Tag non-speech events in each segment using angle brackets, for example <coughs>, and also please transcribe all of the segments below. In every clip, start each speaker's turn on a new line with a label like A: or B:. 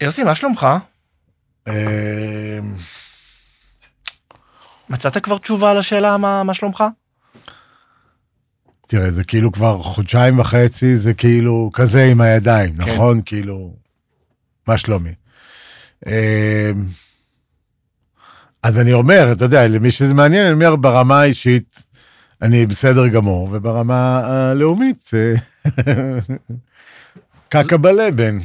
A: יוסי, מה שלומך?
B: אה,
A: מצאת כבר תשובה על השאלה מה, מה שלומך?
B: תראה, זה כאילו כבר חודשיים וחצי, זה כאילו כזה עם הידיים,
A: כן.
B: נכון? כאילו, מה שלומי? אה, אז אני אומר, אתה יודע, למי שזה מעניין, אני אומר, ברמה האישית, אני בסדר גמור, וברמה הלאומית, אה, <laughs> קקה בלבן.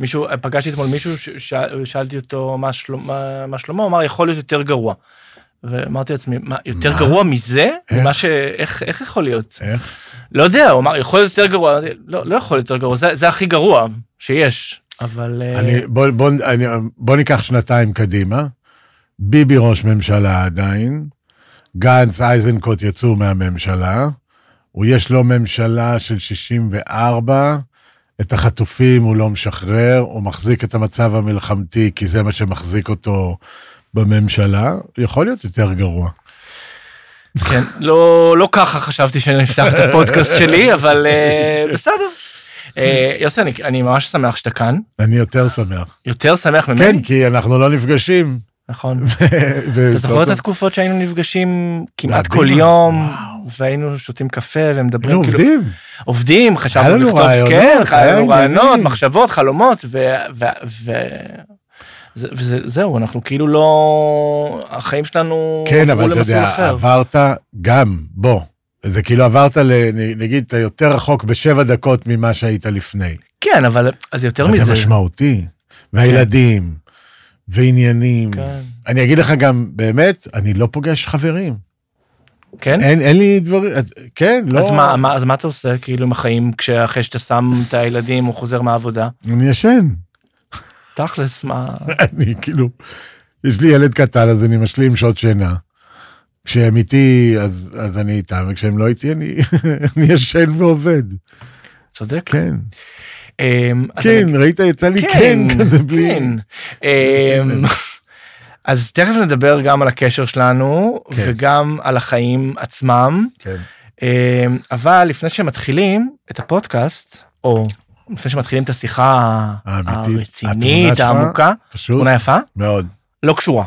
A: מישהו, פגשתי אתמול מישהו, ש- ש- שאלתי אותו מה, שלום, מה, מה שלומו, הוא אמר יכול להיות יותר גרוע. ואמרתי לעצמי, מה, יותר
B: מה?
A: גרוע מזה?
B: איך?
A: מה ש... איך, איך יכול להיות?
B: איך?
A: לא יודע, הוא אמר, יכול להיות יותר גרוע. אמרתי, לא, לא יכול להיות יותר גרוע, זה, זה הכי גרוע שיש. אבל... אה,
B: אני, בוא, בוא, אני, בוא ניקח שנתיים קדימה. ביבי ראש ממשלה עדיין, גנץ איזנקוט יצאו מהממשלה, הוא יש לו ממשלה של 64, את החטופים הוא לא משחרר, הוא מחזיק את המצב המלחמתי כי זה מה שמחזיק אותו בממשלה, יכול להיות יותר גרוע.
A: כן, לא, לא ככה חשבתי שנפתח את הפודקאסט שלי, אבל אה, בסדר. אה, יוסי, אני, אני ממש שמח שאתה כאן.
B: אני יותר שמח.
A: יותר שמח ממני.
B: כן, כי אנחנו לא נפגשים. <laughs>
A: נכון.
B: ו-
A: אתה זוכר את התקופות שהיינו נפגשים כמעט
B: מדהים.
A: כל יום,
B: וואו.
A: והיינו שותים קפה ומדברים,
B: היינו
A: כאילו,
B: עובדים.
A: עובדים,
B: היה
A: חשבנו
B: לנו
A: לכתוב,
B: רעיונות,
A: כן,
B: היה
A: היה לנו
B: עניינים.
A: רעיונות, מחשבות, חלומות, ו... ו- ו- זה- וזה- זהו, אנחנו כאילו לא... החיים שלנו
B: כן,
A: עברו
B: אבל אתה
A: למסלול
B: יודע,
A: אחר.
B: עברת גם, בוא. זה כאילו עברת, ל- נגיד, אתה יותר רחוק בשבע דקות ממה שהיית לפני.
A: כן, אבל אז יותר
B: אבל זה
A: מזה.
B: משמעותי. והילדים, ועניינים.
A: כן.
B: אני אגיד לך גם, באמת, אני לא פוגש חברים.
A: כן?
B: אין אין לי דברים, אז- כן, לא...
A: אז מה- מה- אז מה אתה עושה כאילו עם החיים כשאחרי שאתה שם את הילדים הוא חוזר מהעבודה?
B: אני ישן. <laughs>
A: תכלס, מה...
B: אני כאילו, יש לי ילד קטן, אז אני משלים שעות שינה. כשהם איתי, אז אז אני איתם, וכשהם לא איתי, אני <laughs> אני ישן ועובד.
A: צודק.
B: כן.
A: אמ, אז אני-
B: כן, ראית? יצא לי כן, כזה בלי...
A: כן. אמ, אז תכף נדבר גם על הקשר שלנו
B: כן.
A: וגם על החיים עצמם,
B: כן.
A: אמ, אבל לפני שמתחילים את הפודקאסט, או לפני שמתחילים את השיחה
B: האמיתית, התמונה
A: הרצינית,
B: שלך,
A: העמוקה,
B: פשוט
A: תמונה יפה?
B: מאוד.
A: לא קשורה.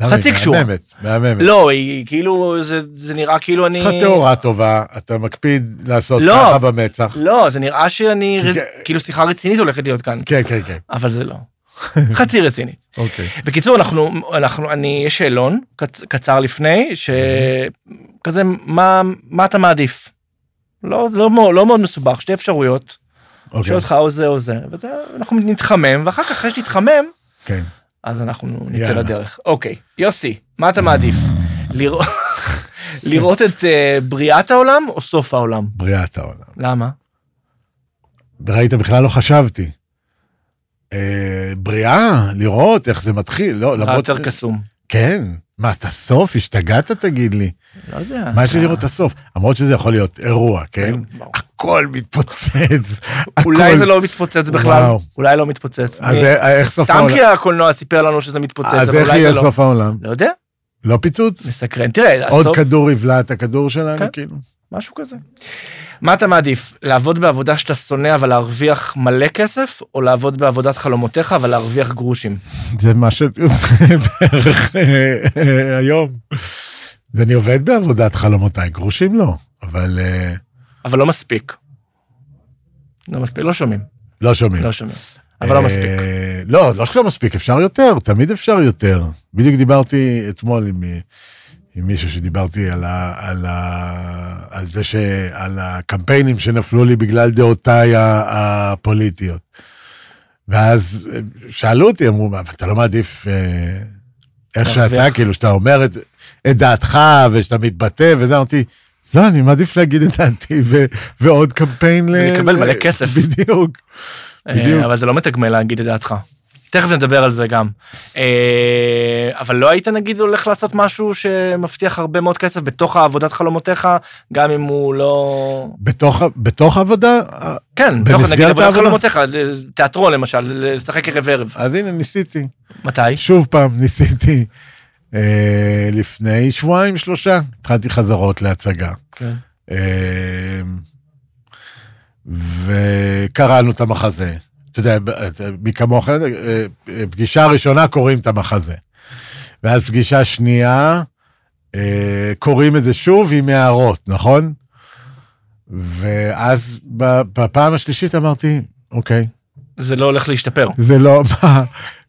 B: למה,
A: חצי
B: היא
A: קשורה.
B: מהממת, מהממת.
A: לא, היא כאילו, זה זה נראה כאילו אני...
B: יש לך כן. תאורה טובה, אתה מקפיד לעשות
A: לא.
B: ככה במצח.
A: לא, זה נראה שאני,
B: כי-
A: רצ- כאילו שיחה רצינית הולכת להיות כאן,
B: כן, כן, כן,
A: אבל
B: <laughs>
A: זה לא. חצי רצינית.
B: אוקיי.
A: בקיצור אנחנו אנחנו אני יש שאלון קצ, קצר לפני שכזה מה מה אתה מעדיף. לא לא מאוד לא מאוד מסובך שתי אפשרויות.
B: אוקיי,
A: שואל אותך או זה או זה ואנחנו נתחמם ואחר כך אחרי שתתחמם
B: כן.
A: אז אנחנו נצא
B: יאללה.
A: לדרך. אוקיי יוסי מה אתה מעדיף לראות <laughs> לראות את אה, בריאת העולם או סוף העולם
B: בריאת העולם.
A: למה
B: ראית, בכלל לא חשבתי. אה, בריאה, לראות איך זה מתחיל, לא,
A: נראה
B: למרות...
A: יותר קסום.
B: כן. מה, את הסוף? השתגעת, תגיד לי.
A: לא יודע.
B: מה יש
A: אתה-
B: לי לראות את הסוף? למרות שזה יכול להיות אירוע, כן?
A: ברור.
B: הכל מתפוצץ.
A: אולי
B: הכל.
A: זה לא מתפוצץ בכלל
B: וואו.
A: אולי לא מתפוצץ.
B: אז
A: מי-
B: אה, איך סוף
A: סתם
B: העולם?
A: כי הקולנוע סיפר לנו שזה מתפוצץ,
B: אז
A: אבל
B: איך
A: אולי
B: יהיה
A: זה לא.
B: סוף העולם?
A: לא יודע,
B: לא פיצוץ?
A: מסקרן. תראה,
B: עוד
A: הסוף,
B: כדור יבלע את הכדור שלנו,
A: כן.
B: כאילו?
A: משהו כזה. מה אתה מעדיף, לעבוד בעבודה שאתה שונא אבל להרוויח מלא כסף, או לעבוד בעבודת חלומותיך אבל להרוויח גרושים?
B: <laughs> זה מה שזה בערך אה, אה, היום. ואני עובד בעבודת חלומותיי, גרושים לא, אבל אה,
A: אבל לא מספיק. לא מספיק, לא שומעים,
B: לא שומעים.
A: לא שומעים. אבל לא
B: אה,
A: מספיק.
B: לא, לא שלא מספיק, אפשר יותר, תמיד אפשר יותר. בדיוק דיברתי אתמול עם, עם מישהו שדיברתי על, ה, על, ה, על זה ש... על הקמפיינים שנפלו לי בגלל דעותיי ה- הפוליטיות. ואז אה, שאלו אותי, אמרו, "מה, אבל אתה לא מעדיף אה, איך
A: להרוויח."
B: שאתה, כאילו, שאתה אומר את, את דעתך ושאתה מתבטא וזה, אמרתי, לא, אני מעדיף להגיד את דעתי ו, ועוד קמפיין ל...
A: ולקבל מלא
B: ל-
A: כסף.
B: בדיוק.
A: אה,
B: בדיוק.
A: אבל זה לא מתגמל להגיד את דעתך. תכף נדבר על זה גם. אה, אבל לא היית נגיד הולך לעשות משהו שמבטיח הרבה מאוד כסף בתוך העבודת חלומותיך, גם אם הוא לא...
B: בתוך, ה- בתוך העבודה, אה,
A: כן,
B: במסגרת
A: בתוך נגיד עבודת
B: העבודה?
A: חלומותיך, אה, תיאטרון למשל, לשחק ערב ערב.
B: אז הנה ניסיתי.
A: מתי?
B: שוב פעם <laughs> ניסיתי אה, לפני שבועיים שלושה, התחלתי חזרות להצגה.
A: כן.
B: אה, וקראנו את המחזה. אתה יודע, מי כמוך, אה, אה, פגישה ראשונה קוראים את המחזה. ואז פגישה שנייה, אה, קוראים את זה שוב עם הערות, נכון? ואז ב- בפעם השלישית אמרתי, אוקיי,
A: זה לא הולך להשתפר.
B: זה לא, מה,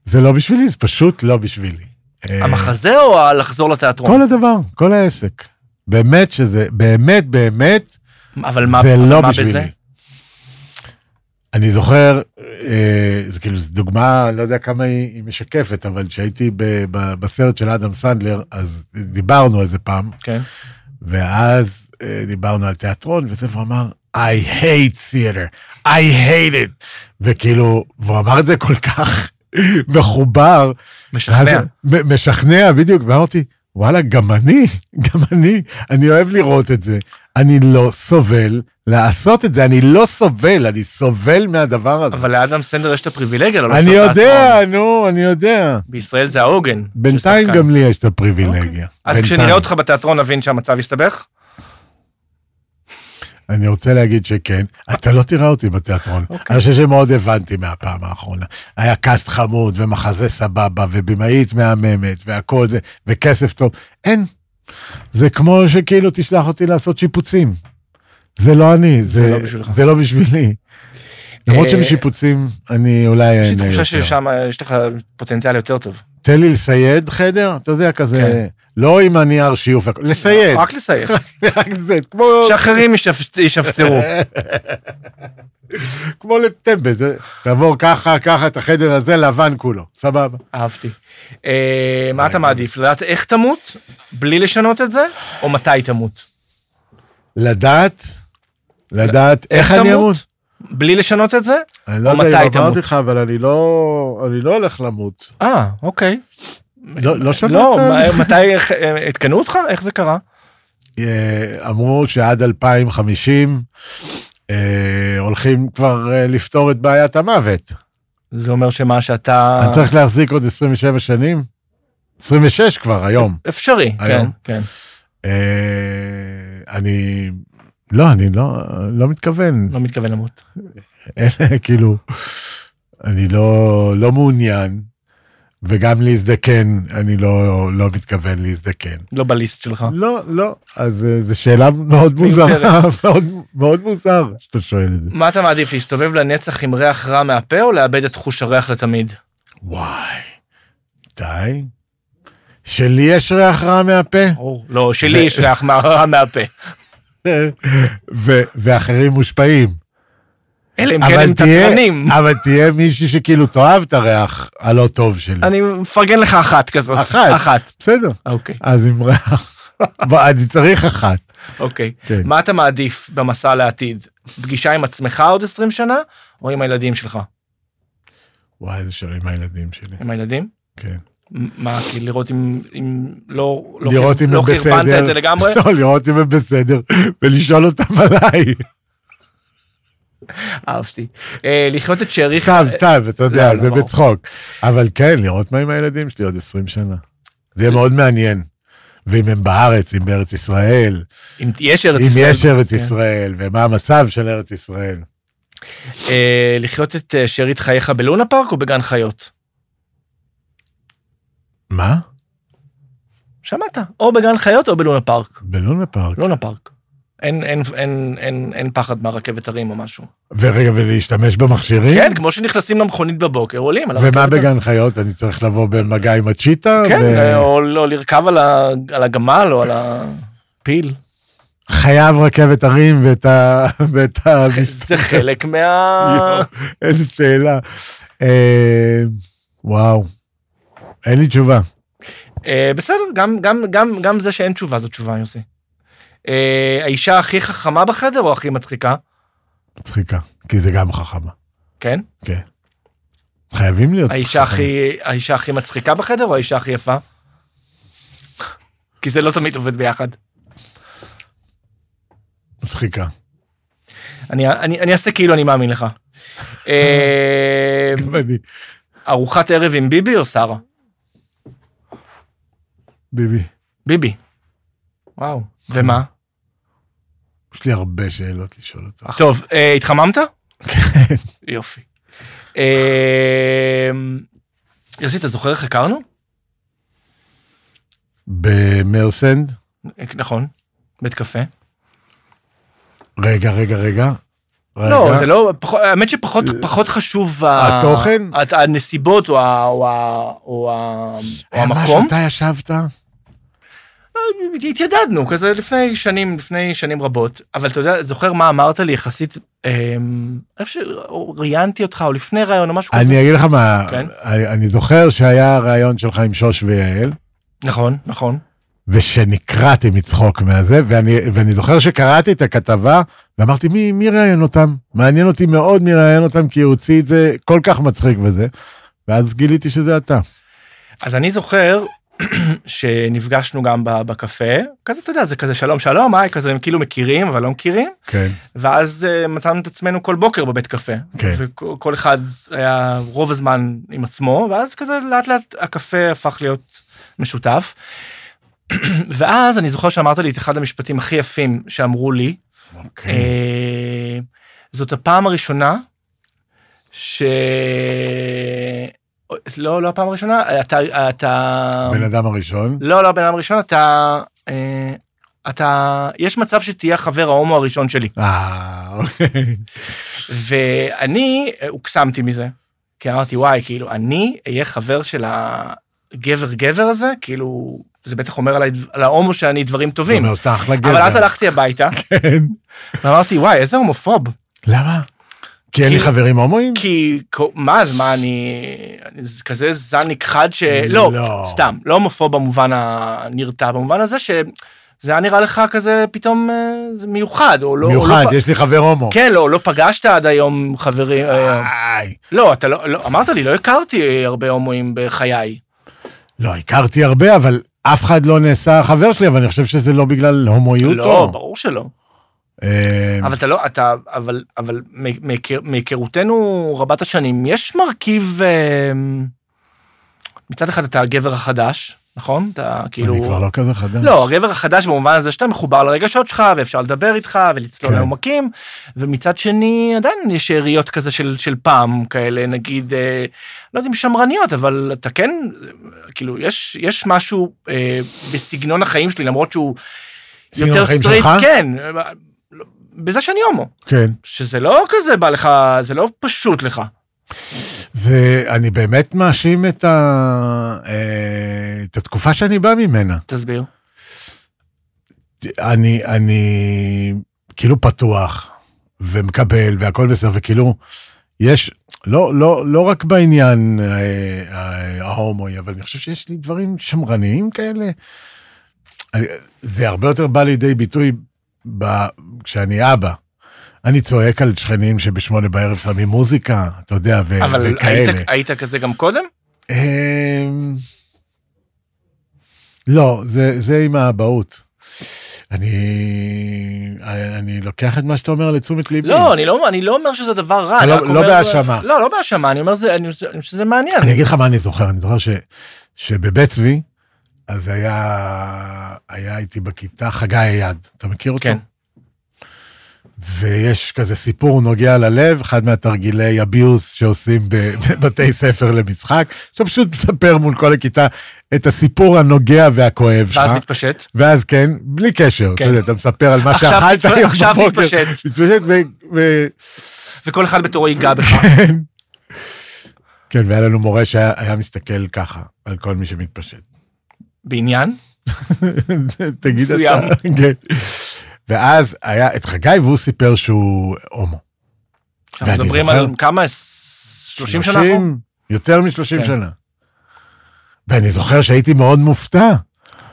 B: זה לא בשבילי, זה פשוט לא בשבילי. אה,
A: המחזה או הלחזור לתיאטרון?
B: כל הדבר, כל העסק. באמת שזה, באמת, באמת,
A: אבל מה
B: זה
A: אבל
B: לא
A: מה
B: בשבילי.
A: בזה?
B: אני זוכר, אה, זה כאילו, זו דוגמה, לא יודע כמה היא, היא משקפת, אבל כשהייתי ב, ב, בסרט של אדם סנדלר, אז דיברנו על זה פעם,
A: כן.
B: ואז אה, דיברנו על תיאטרון, וזה, והוא אמר, I hate theater, I hate it. וכאילו, והוא אמר את זה כל כך <laughs> מחובר. ואז-
A: משכנע.
B: מ- משכנע, בדיוק, ואמרתי, וואלה, גם אני, <laughs> גם אני, אני אוהב לראות את זה. אני לא סובל לעשות את זה, אני לא סובל, אני סובל מהדבר הזה.
A: אבל לאדם סנדר יש את הפריבילגיה לא
B: אני
A: לעשות
B: יודע,
A: תיאטרון.
B: נו, אני יודע.
A: בישראל זה העוגן. של
B: בינתיים
A: שחקן. אוקיי.
B: גם לי יש את הפריבילגיה.
A: אז
B: בינתיים.
A: כשנראה אותך בתיאטרון נבין שהמצב יסתבך?
B: אני רוצה להגיד שכן, אתה לא תראה אותי בתיאטרון.
A: אוקיי.
B: אני חושב שמאוד הבנתי מהפעם האחרונה. היה קאסט חמוד, ומחזה סבבה, ובמאית מהממת, והכל זה, וכסף טוב. אין. זה כמו שכאילו תשלח אותי לעשות שיפוצים. זה לא אני,
A: זה
B: זה,
A: לא בשבילך. אה,
B: זה לא בשבילי. למרות שבשיפוצים אני אולי
A: יש לי
B: אהנה
A: תחושה
B: יותר.
A: ששם אה, יש לך פוטנציאל יותר טוב.
B: תן לי לסייד חדר, אתה יודע, כזה, לא עם הנייר שיוף, הכל, לסייד.
A: כן. לא, רק לסיים.
B: <laughs> אוקיי. רק זה, כמו...
A: שאחרים ישפ- ישפצרו.
B: כמו לטמבל, זה- תעבור ככה, ככה את החדר הזה, לבן כולו, סבבה.
A: אהבתי. אה, מה אתה מעדיף? לדעת איך תמות, בלי לשנות את זה, או מתי תמות?
B: לדעת, לדעת איך
A: תמות?
B: אני אמות.
A: בלי לשנות את זה?
B: אני לא
A: או
B: יודע אם
A: מתי
B: אמרתי
A: תמות?
B: לך, אבל אני לא, אני לא הולך למות.
A: אה, אוקיי.
B: לא, לא שמעת?
A: לא, מה- מתי, איך- אה, עדכנו אותך? איך זה קרה?
B: אה, אמרו שעד 2050 אה, הולכים כבר אה, לפתור את בעיית המוות.
A: זה אומר שמה שאתה...
B: אני צריך להחזיק עוד 27 שנים? 26 כבר, היום.
A: אפשרי, כן,
B: היום.
A: כן.
B: אה, אני... לא, אני לא, לא מתכוון.
A: לא מתכוון למות.
B: אין, <laughs> כאילו, אני לא, לא מעוניין, וגם להזדקן, אני לא, לא מתכוון להזדקן.
A: לא בליסט שלך.
B: לא, לא, אז אה, זו שאלה מאוד מוזרה, <laughs> מאוד, מאוד מוזר שאתה שואל את זה.
A: מה אתה מעדיף, להסתובב לנצח עם ריח רע מהפה, או לאבד את חוש הריח לתמיד?
B: וואי, די. שלי יש ריח רע מהפה,
A: ברור. לא, שלי יש ריח מה- רע מהפה.
B: ו- ואחרים מושפעים.
A: אלא אם כן
B: אבל
A: הם
B: תהיה-
A: תתרנים.
B: אבל תהיה מישהי שכאילו תאהב את הריח הלא טוב שלי.
A: אני מפרגן לך אחת כזאת.
B: אחת.
A: אחת.
B: בסדר,
A: אוקיי,
B: אז עם ריח. בוא, אני צריך אחת.
A: אוקיי.
B: כן.
A: מה אתה מעדיף במסע לעתיד? פגישה עם עצמך עוד 20 שנה, או עם הילדים שלך?
B: וואי, איזה שאלה עם הילדים שלי,
A: עם הילדים?
B: כן.
A: מ- מה, כי לראות אם... אם לא... לא
B: לראות
A: חיר-
B: אם
A: לא
B: הם
A: חרבנת את
B: בסדר.
A: זה
B: <laughs>
A: לגמרי?
B: לא, לראות אם הם בסדר, ולשאול אותם עליי.
A: אהבתי. אה, לחיות את שאריך...
B: סתם, סתם, אתה
A: לא,
B: יודע,
A: לא,
B: זה
A: ברור.
B: בצחוק. אבל כן, לראות מה עם הילדים שלי עוד 20 שנה. זה יהיה מאוד מעניין. ואם הם בארץ, אם בארץ ישראל,
A: אם יש ארץ
B: אם
A: ישראל.
B: יש ארץ
A: כן.
B: ישראל, ומה המצב של ארץ ישראל.
A: אה, לחיות את אה, שארית חייך בלונה פארק או בגן חיות?
B: מה?
A: שמעת, או בגן חיות או בלונה פארק.
B: בלונה פארק.
A: לונה פארק. אין, אין, אין, אין, אין פחד מהרכבת הרים או משהו.
B: ורגע, ולהשתמש במכשירים?
A: כן, כמו שנכנסים למכונית בבוקר, עולים על
B: ומה
A: הרכבת.
B: בגן חיות? אני צריך לבוא במגע עם הצ'יטה?
A: כן,
B: ו-
A: אה, או, או לרכב על, ה, על הגמל או על הפיל.
B: חייב רכבת הרים ואת ה... ואת ה...
A: זה חלק מה...
B: יואו, <laughs> איזה שאלה. אה, וואו, אין לי תשובה.
A: אה, בסדר, גם, גם, גם, גם זה שאין תשובה זו תשובה, יוסי. אה, האישה הכי חכמה בחדר או הכי מצחיקה?
B: מצחיקה, כי זה גם חכמה.
A: כן.
B: חייבים להיות
A: האישה
B: חכמים.
A: הכי, האישה הכי מצחיקה בחדר או האישה הכי יפה? כי זה לא תמיד עובד ביחד.
B: מצחיקה.
A: אני, אני, אני אעשה כאילו אני מאמין לך.
B: <laughs>
A: אה,
B: גם אני,
A: ארוחת ערב עם ביבי או שרה?
B: ביבי,
A: ביבי. וואו. ומה?
B: יש לי הרבה שאלות לשאול אותך. כן.
A: טוב, אה, התחממת? יופי. אה, יוסי, אתה זוכר איך הכרנו?
B: במרסנד?
A: נכון, בית קפה.
B: רגע, רגע, רגע.
A: לא,
B: רגע.
A: זה לא, פח- האמת שפחות פחות חשוב ה-
B: אה, התוכן?
A: הת- הנסיבות או ה- או ה- או ה- או
B: היה
A: המקום.
B: משהו, אתה אה, ישבת?
A: התיידדנו כזה לפני שנים לפני שנים רבות אבל אתה יודע זוכר מה אמרת לי יחסית אמ, איך שראיינתי אותך או לפני ראיון או משהו כזה
B: אני אגיד לך מה,
A: כן.
B: אני- אני זוכר שהיה ראיון שלך עם שוש ויעל,
A: נכון נכון
B: ושנקרעתי מצחוק מהזה, ואני, ואני זוכר שקראתי את הכתבה, ואמרתי, מי, מי ראיין אותם? מעניין אותי מאוד מי ראיין אותם, כי הוא הוציא את זה כל כך מצחיק וזה. ואז גיליתי שזה אתה.
A: אז אני זוכר <clears throat> שנפגשנו גם ב- בקפה כזה אתה יודע זה כזה שלום שלום היי כזה הם כאילו מכירים אבל לא מכירים
B: כן.
A: ואז אה, מצאנו את עצמנו כל בוקר בבית קפה
B: כן.
A: וכל אחד היה רוב הזמן עם עצמו ואז כזה לאט לאט הקפה הפך להיות משותף. <clears throat> ואז אני זוכר שאמרת לי את אחד המשפטים הכי יפים שאמרו לי
B: אוקיי.
A: אה, זאת הפעם הראשונה ש... לא, לא הפעם הראשונה, אתה... אתה...
B: הבן אדם הראשון.
A: לא, לא הבן אדם הראשון, אתה... אה, אתה... יש מצב שתהיה החבר ההומו הראשון שלי.
B: אה, אוקיי.
A: ואני אה, הוקסמתי מזה. כי אמרתי, וואי, כאילו, אני אהיה חבר של הגבר-גבר הזה? כאילו, זה בטח אומר עליי, דב- על ההומו שאני דברים
B: זה
A: טובים.
B: אומר שאתה אחלה גבר.
A: אבל אז הלכתי הביתה,
B: כן.
A: ואמרתי, וואי, איזה הומופוב.
B: למה? כי אין לי
A: כי-
B: חברים הומואים?
A: כי כ- מה אז מה אני אני ז- כזה זן נכחד שלא
B: לא.
A: סתם לא הומופוב במובן הנרתע במובן הזה שזה היה נראה לך כזה פתאום אה, זה מיוחד או לא או
B: מיוחד,
A: לא, פ-
B: יש לי חבר הומו.
A: כן לא לא פגשת עד היום חברים אה,
B: איי.
A: לא אתה לא, לא אמרת לי לא הכרתי אה, הרבה הומואים בחיי
B: לא, הכרתי הרבה, אבל אף אחד לא נעשה חבר שלי, אבל אני חושב שזה לא בגלל הומואיותו.
A: לא ברור שלא
B: אה,
A: אבל אתה לא אתה אבל אבל מ- מהיכר- מהיכרותנו רבת השנים יש מרכיב אה, מצד אחד אתה הגבר החדש נכון אתה כאילו.
B: אני כבר לא כזה חדש.
A: לא, הגבר החדש במובן הזה שאתה מחובר לרגשות שלך ואפשר לדבר איתך ולצלול
B: כן.
A: לעומקים, ומצד שני עדיין יש שאריות כזה של, של פעם כאלה, נגיד, אה, לא יודע אם שמרניות, אבל אתה כן, אה, כאילו, יש, יש משהו אה, בסגנון החיים שלי, למרות שהוא
B: סגנון
A: יותר
B: החיים
A: סטרייט,
B: שלך?
A: כן, אה, לא, בזה שאני הומו,
B: כן.
A: שזה לא כזה בא לך, זה לא פשוט לך.
B: ואני באמת מאשים את, ה... אה, את התקופה שאני בא ממנה.
A: תסביר.
B: אני, אני כאילו פתוח ומקבל והכל בסדר, וכאילו, יש, לא, לא, לא רק בעניין אה, אה, ההומואי, אבל אני חושב שיש לי דברים שמרניים כאלה. אני, זה הרבה יותר בא לידי ביטוי ב, כשאני אבא. אני צועק על שכנים שבשמונה בערב שמים מוזיקה, אתה יודע, ו-
A: אבל
B: אה, וכאלה.
A: היית, היית כזה גם קודם?
B: אמ, לא, זה, זה עם האבהות. אני, אני לוקח את מה שאתה אומר לתשומת ליבי.
A: לא, אני לא, אני לא אומר שזה דבר רע. אני
B: לא-
A: רק
B: לא
A: אומר-
B: בהאשמה.
A: לא, לא בהאשמה, אני אומר זה, אני אני חושב שזה מעניין.
B: אני אגיד לך מה אני זוכר, אני זוכר ש, שבבית צבי, אז היה, היה איתי בכיתה חגי אייד, אתה מכיר אותו?
A: כן.
B: ויש כזה סיפור נוגע ללב, אחד מהתרגילי אביוס שעושים <laughs> בבתי ספר למשחק, שאתה פשוט מספר מול כל הכיתה את הסיפור הנוגע והכואב שלך.
A: ואז מתפשט.
B: ואז כן, בלי קשר,
A: כן.
B: אתה יודע, אתה מספר על מה
A: עכשיו
B: שאכלת
A: תתפ-
B: היום
A: עכשיו
B: בבוקר.
A: תתפשט.
B: מתפשט. ו- ו-
A: וכל אחד בתורו ייגע בך.
B: <laughs> כן. כן, והיה לנו מורה שהיה היה מסתכל ככה על כל מי שמתפשט. <laughs>
A: בעניין?
B: תגיד
A: מסוים.
B: אתה. כן. ואז היה את חגי והוא סיפר שהוא הומו.
A: אנחנו
B: ואני
A: מדברים
B: זוכר-
A: על כמה? 30 שנה? אחורה?
B: 30, יותר מ-30
A: כן.
B: שנה. ואני זוכר שהייתי מאוד מופתע.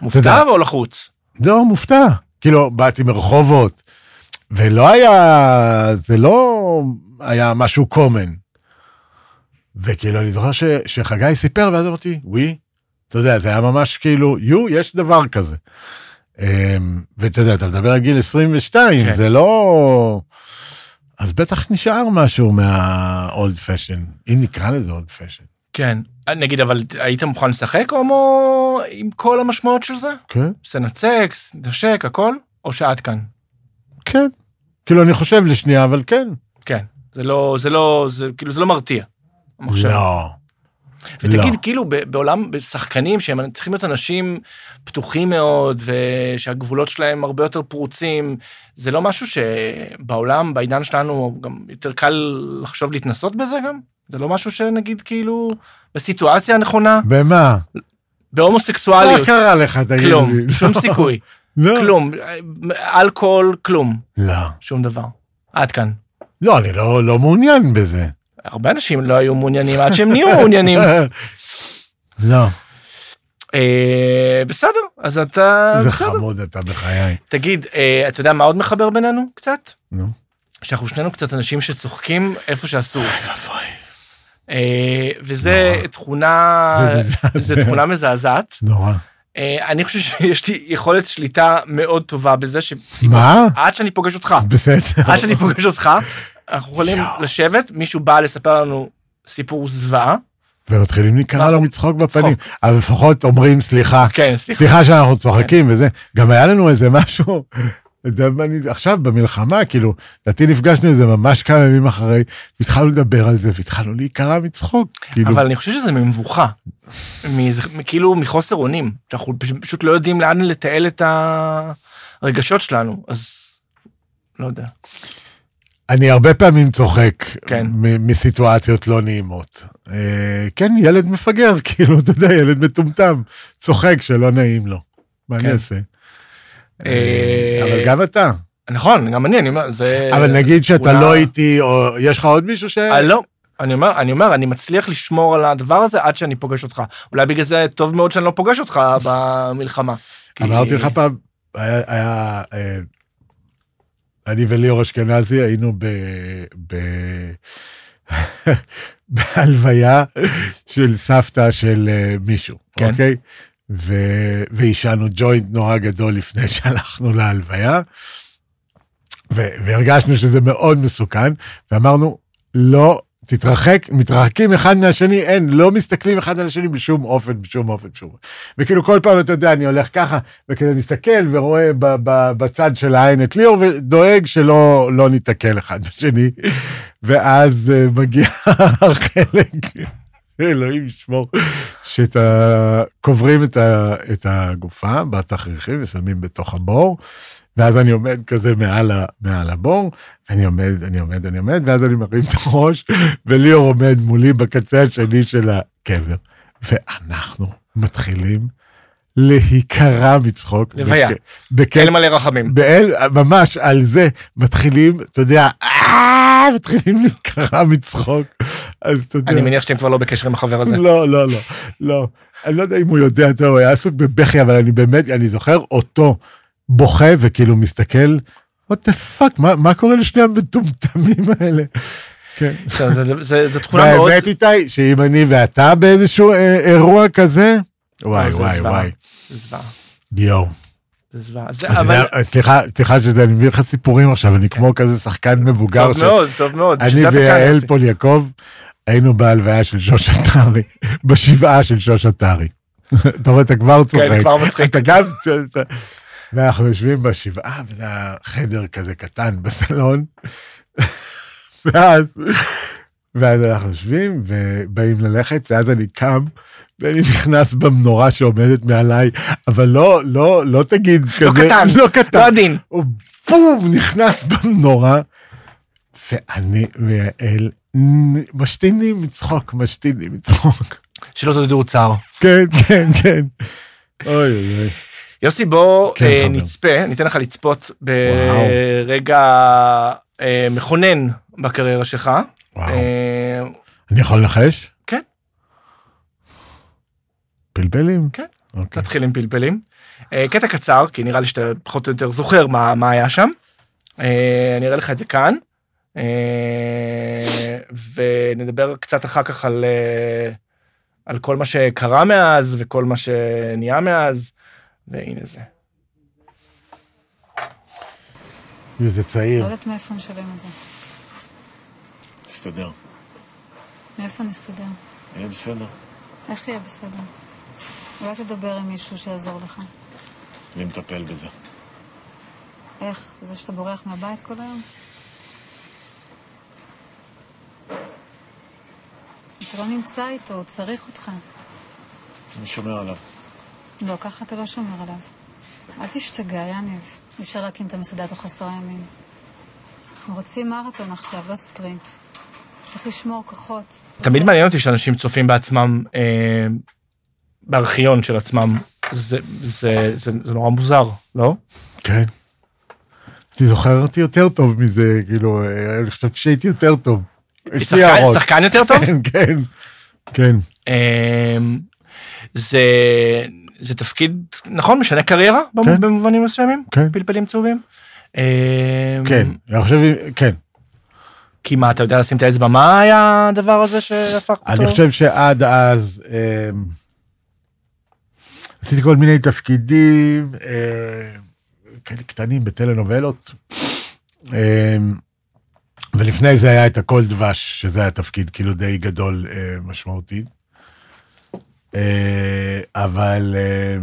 A: מופתע
B: יודע.
A: או לחוץ?
B: לא, מופתע. כאילו, באתי מרחובות, ולא היה, זה לא היה משהו common. וכאילו, אני זוכר ש, שחגי סיפר, ואז אמרתי, ווי, אתה יודע, זה היה ממש כאילו, יו, יש דבר כזה. אמ, ואתה יודע, אתה מדבר על גיל 22,
A: כן.
B: כן. זה לא... אז בטח נשאר משהו מה-old fashion, אם נקרא לזה old fashion.
A: כן. נגיד, אבל היית מוכן לשחק הומו עם כל המשמעות של זה?
B: כן.
A: סצנת סקס, נשק, הכל? או שעד כאן?
B: כן. כאילו, אני חושב לשנייה, אבל כן.
A: כן. זה לא, זה לא, זה כאילו, זה לא מרתיע. המחשב.
B: לא.
A: ותגיד,
B: לא.
A: כאילו, ב- בעולם, בשחקנים שהם צריכים להיות אנשים פתוחים מאוד, ושהגבולות שלהם הרבה יותר פרוצים, זה לא משהו שבעולם, בעידן שלנו, גם יותר קל לחשוב להתנסות בזה גם? זה לא משהו שנגיד, כאילו, בסיטואציה הנכונה?
B: במה? מה
A: בהומוסקסואליות,
B: קרה לך, תגיד לי?
A: כלום,
B: לא,
A: שום סיכוי,
B: <laughs> לא.
A: כלום, אלכוהול, כלום,
B: לא.
A: שום דבר. עד כאן.
B: לא, אני לא לא מעוניין בזה.
A: הרבה אנשים לא היו מעוניינים עד שהם נהיו
B: <laughs>
A: מעוניינים.
B: לא.
A: אה, בסדר, אז אתה...
B: זה
A: אה, בסדר.
B: חמוד אתה בחיי.
A: תגיד, אה, אתה יודע מה עוד מחבר בינינו קצת?
B: נו.
A: שאנחנו שנינו קצת אנשים שצוחקים איפה שאסור.
B: אוי.
A: אה, וזה תכונה,
B: זה מזעזע.
A: זה תכונה מזעזעת.
B: נורא.
A: אה, אני חושב שיש לי יכולת שליטה מאוד טובה בזה שעד
B: מה?
A: שאני פוגש אותך,
B: בסדר.
A: עד אה, שאני פוגש אותך, אנחנו יכולים לשבת, מישהו בא לספר לנו סיפור זוועה.
B: ומתחילים
A: אה,
B: להיקרע לו מצחוק בפנים. אבל לפחות אומרים סליחה.
A: כן, אה, סליחה.
B: סליחה שאנחנו צוחקים וזה. גם היה לנו איזה משהו. אתה יודע מה, אני- עכשיו במלחמה כאילו לדעתי נפגשנו איזה ממש כמה ימים אחרי והתחלנו לדבר על זה והתחלנו להיקרע מצחוק כאילו
A: אבל אני חושב שזה ממבוכה, מזה- כאילו מחוסר אונים, שאנחנו פש- פשוט לא יודעים לאן לתעל את הרגשות שלנו, אז לא יודע.
B: אני הרבה פעמים צוחק
A: כן.
B: מ- מסיטואציות לא נעימות. אה, כן, ילד מפגר, <laughs> כאילו, אתה יודע, ילד מטומטם, צוחק שלא נעים לו. מה
A: כן.
B: אני אעשה?
A: אה,
B: אבל גם אתה.
A: נכון, גם אני, אני אומר, זה...
B: אבל נגיד שאתה
A: תכונה-
B: לא איתי, או יש לך עוד מישהו ש...
A: אה, לא, אני אומר, אני אומר, אני מצליח לשמור על הדבר הזה עד שאני פוגש אותך. אולי בגלל זה טוב מאוד שאני לא פוגש אותך במלחמה. כי-
B: אמרתי לך פעם, היה, היה, אה, אני וליאור אשכנזי היינו ב... ב... <laughs> בהלוויה של סבתא של אה, מישהו,
A: כן.
B: אוקיי? ו... ועישנו ג'וינט נורא גדול לפני <laughs> שהלכנו להלוויה, ו... והרגשנו שזה מאוד מסוכן, ואמרנו, לא, תתרחק, מתרחקים אחד מהשני, אין, לא מסתכלים אחד על השני בשום אופן, בשום אופן, בשום אופן. וכאילו כל פעם, אתה יודע, אני הולך ככה, וכזה מסתכל ורואה ב- ב- בצד של העין את ליאור, ודואג שלא לא ניתקל אחד בשני. ואז אה, מגיע <laughs> החלק, אלוהים ישמור, שאת ה... קוברים את, ה... את הגופה בתכריכים ושמים בתוך הבור. ואז אני עומד כזה מעל, ה, מעל הבור, אני עומד, אני עומד, אני עומד, ואז אני מרים את הראש, וליאור עומד מולי בקצה השני של הקבר. ואנחנו מתחילים להיקרע מצחוק.
A: לוויה.
B: בכ- בקטע
A: אין מלא רחמים.
B: באל, ממש על זה מתחילים, אתה יודע, "אה", מתחילים להיקרע מצחוק. אז אתה יודע,
A: אני מניח שאתם כבר לא בקשר עם החבר
B: <laughs>
A: הזה.
B: לא, לא, לא, לא. אני לא יודע אם הוא יודע, אתה יודע, הוא היה עסוק בבכי, אבל אני באמת, אני זוכר אותו בוכה וכאילו מסתכל, what the fuck, מה, מה קורה לשני המטומטמים האלה? כן.
A: טוב, זה- זה זה תכונה מאוד...
B: והאמת איתי, שאם אני ואתה באיזשהו אה, אירוע כזה, וואי,
A: לא, זה
B: וואי,
A: זוועה.
B: וואי,
A: זה זוועה.
B: יואו.
A: זה זוועה. זה-
B: אתה
A: אבל-
B: יודע, סליחה, סליחה שזה, אני מביא לך סיפורים עכשיו, אני כמו כזה שחקן מבוגר.
A: טוב
B: ש-
A: מאוד, טוב מאוד. בשביל
B: אני
A: זה אתה כאן,
B: ויעל
A: יוסי.
B: פול יעקב היינו בהלוויה של שוש עטרי, <laughs> בשבעה של שוש עטרי. אתה רואה, אתה כבר
A: כן,
B: צוחק.
A: כבר
B: <laughs>
A: מצחיק.
B: אתה גם... אתה- אתה- ואנחנו יושבים בשבעה, וזה היה חדר כזה קטן בסלון, <laughs> ואז... ואז אנחנו יושבים ובאים ללכת, ואז אני קם, ואני נכנס במנורה שעומדת מעליי, אבל לא, לא, לא תגיד כזה...
A: קטן.
B: לא קטן.
A: לא עדין.
B: הוא בום, נכנס במנורה, ואני ויעל נ- משתינים מצחוק, משתינים מצחוק. <laughs>
A: שלא תדעו צער.
B: כן, כן, כן. אוי אוי אוי.
A: יוסי, בוא
B: כן,
A: אה,
B: חבר.
A: נצפה, ניתן לך לצפות
B: וואו.
A: ברגע אה, מכונן בקריירה שלך.
B: וואו.
A: אה,
B: אני יכול לנחש?
A: כן.
B: פלפלים?
A: כן.
B: אוקיי.
A: נתחיל עם פלפלים. אה, קטע קצר, כי נראה לי שאתה פחות או יותר זוכר מה מה היה שם. אה, אני אראה לך את זה כאן. אה, ונדבר קצת אחר כך על אה, על כל מה שקרה מאז וכל מה שנהיה מאז. והנה זה.
B: יו, זה צעיר.
C: לא יודעת מאיפה נשלם את זה.
D: תסתדר.
C: מאיפה נסתדר?
D: יהיה בסדר.
C: איך יהיה בסדר? אולי תדבר עם מישהו שיעזור לך.
D: אני מטפל בזה.
C: איך? זה שאתה בורח מהבית כל היום? אתה לא נמצא איתו, הוא צריך אותך.
D: אני שומר עליו.
C: לא, ככה אתה לא שומר עליו. אל תשתגע, יניב. אי אפשר להקים את המסעדה תוך עשרה ימים. אנחנו רוצים מרתון עכשיו, לא ספרינט. צריך לשמור כוחות.
A: תמיד מעניין אותי שאנשים צופים בעצמם אה, בארכיון של עצמם. זה, זה, זה, זה נורא מוזר, לא?
B: כן. אני זוכר אותי יותר טוב מזה, כאילו, אה, אני חושב שהייתי יותר טוב. יש לי
A: שחקן-
B: הערות.
A: שחקן יותר טוב?
B: כן, כן. כן.
A: אמ, זה זה תפקיד נכון משנה קריירה במ-
B: כן.
A: במובנים מסוימים
B: כן.
A: פלפלים צהובים. אמ,
B: כן, אני חושב, כן.
A: כי מה אתה יודע לשים את האצבע מה היה הדבר הזה שהפך אותו?
B: אני חושב שעד אז אה, עשיתי כל מיני תפקידים אה, כאלה קטנים בטלנובלות. אה, ולפני זה היה את הכל דבש, שזה היה תפקיד כאילו די גדול אה, משמעותי. אה, אבל אה,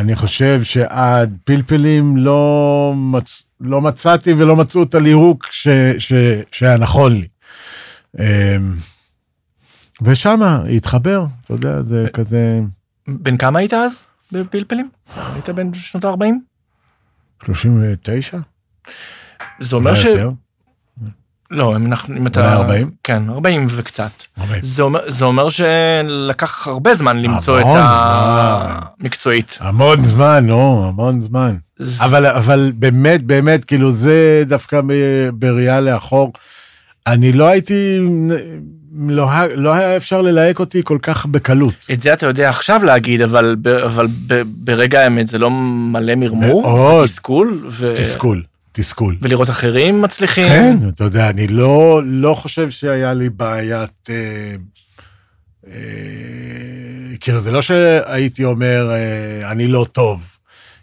B: אני חושב שעד פלפלים לא, מצ... לא מצאתי ולא מצאו את הליהוק ש... ש... שהיה נכון לי. אמ, ושם התחבר, אתה יודע, זה כזה
A: בן כמה היית אז בפלפלים? היית בן שנות ה-40?
B: 39?
A: זה אומר ש...
B: אולי יותר,
A: לא אם אנחנו אם אתה...
B: אולי 40?
A: כן 40 וקצת.
B: 40.
A: זה אומר, זה אומר שלקח הרבה זמן למצוא את
B: המון זמן.
A: המקצועית.
B: המון זמן, נו, המון זמן. אבל, אבל באמת, באמת, כאילו זה דווקא ב- בראייה לאחור. אני לא הייתי, לא, ה- לא היה אפשר ללהק אותי כל כך בקלות.
A: את זה אתה יודע עכשיו להגיד, אבל, ב- אבל ב- ברגע האמת זה לא מלא מרמור,
B: מאוד.
A: תסכול, ו-
B: תסכול, תסכול.
A: ולראות אחרים מצליחים.
B: כן, אתה יודע, אני לא, לא חושב שהיה לי בעיית... אה, אה, כאילו, זה לא שהייתי אומר, אה, אני לא טוב.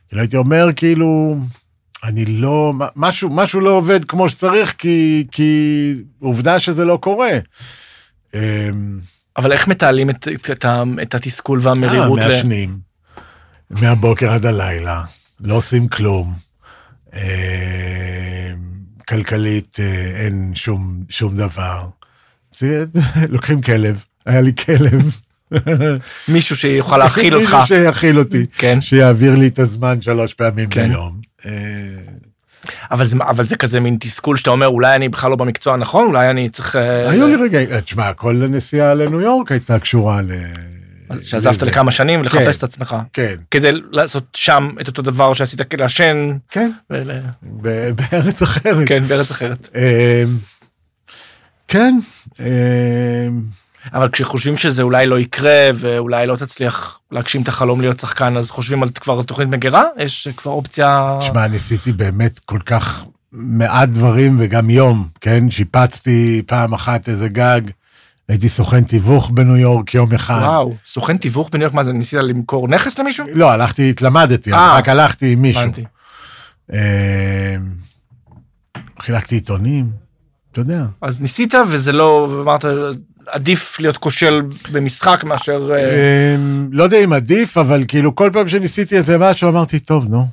B: כאילו, הייתי אומר, כאילו, אני לא... מה- משהו, משהו לא עובד כמו שצריך, כי, כי עובדה שזה לא קורה. אה,
A: אבל איך מתעלים את, את, את, ה- את התסכול והמרירות?
B: אה, מעשנים, מהבוקר עד הלילה, לא עושים כלום. אה, כלכלית אה, אין שום, שום דבר. זה- <laughs> לוקחים כלב, היה לי כלב.
A: מישהו
B: <laughs>
A: שיוכל להכיל אותך.
B: מישהו שיאכיל אותי,
A: כן,
B: שיעביר לי את הזמן שלוש פעמים
A: כן.
B: ביום. אה,
A: אבל זה, אבל זה כזה מין תסכול שאתה אומר, אולי אני בכלל לא במקצוע הנכון, אולי אני צריך... אה,
B: היו לי רגעים, אה, תשמע, כל הנסיעה לניו יורק הייתה קשורה ל...
A: שעזבת
B: לזה.
A: לכמה שנים ולחפש
B: כן.
A: את עצמך.
B: כן,
A: כדי לעשות שם את אותו דבר שעשית כ- לעשן,
B: כן,
A: ול...
B: ב- בארץ אחרת.
A: כן, בארץ אחרת.
B: אמ, כן, אמ,
A: אבל כשחושבים שזה אולי לא יקרה ואולי לא תצליח להגשים את החלום להיות שחקן אז חושבים על כבר תוכנית מגירה יש כבר אופציה
B: תשמע, ניסיתי באמת כל כך מעט דברים וגם יום, כן? שיפצתי פעם אחת איזה גג, הייתי סוכן תיווך בניו יורק יום אחד.
A: וואו סוכן תיווך בניו יורק מה זה ניסית למכור נכס למישהו?
B: לא, הלכתי, התלמדתי,
A: אה.
B: רק הלכתי עם מישהו.
A: הבנתי.
B: אמ, חילקתי עיתונים, אתה יודע.
A: אז ניסית וזה לא אמרת עדיף להיות כושל במשחק מאשר אה,
B: אמ, לא יודע אם עדיף, אבל כאילו כל פעם שניסיתי איזה משהו אמרתי, טוב, נו.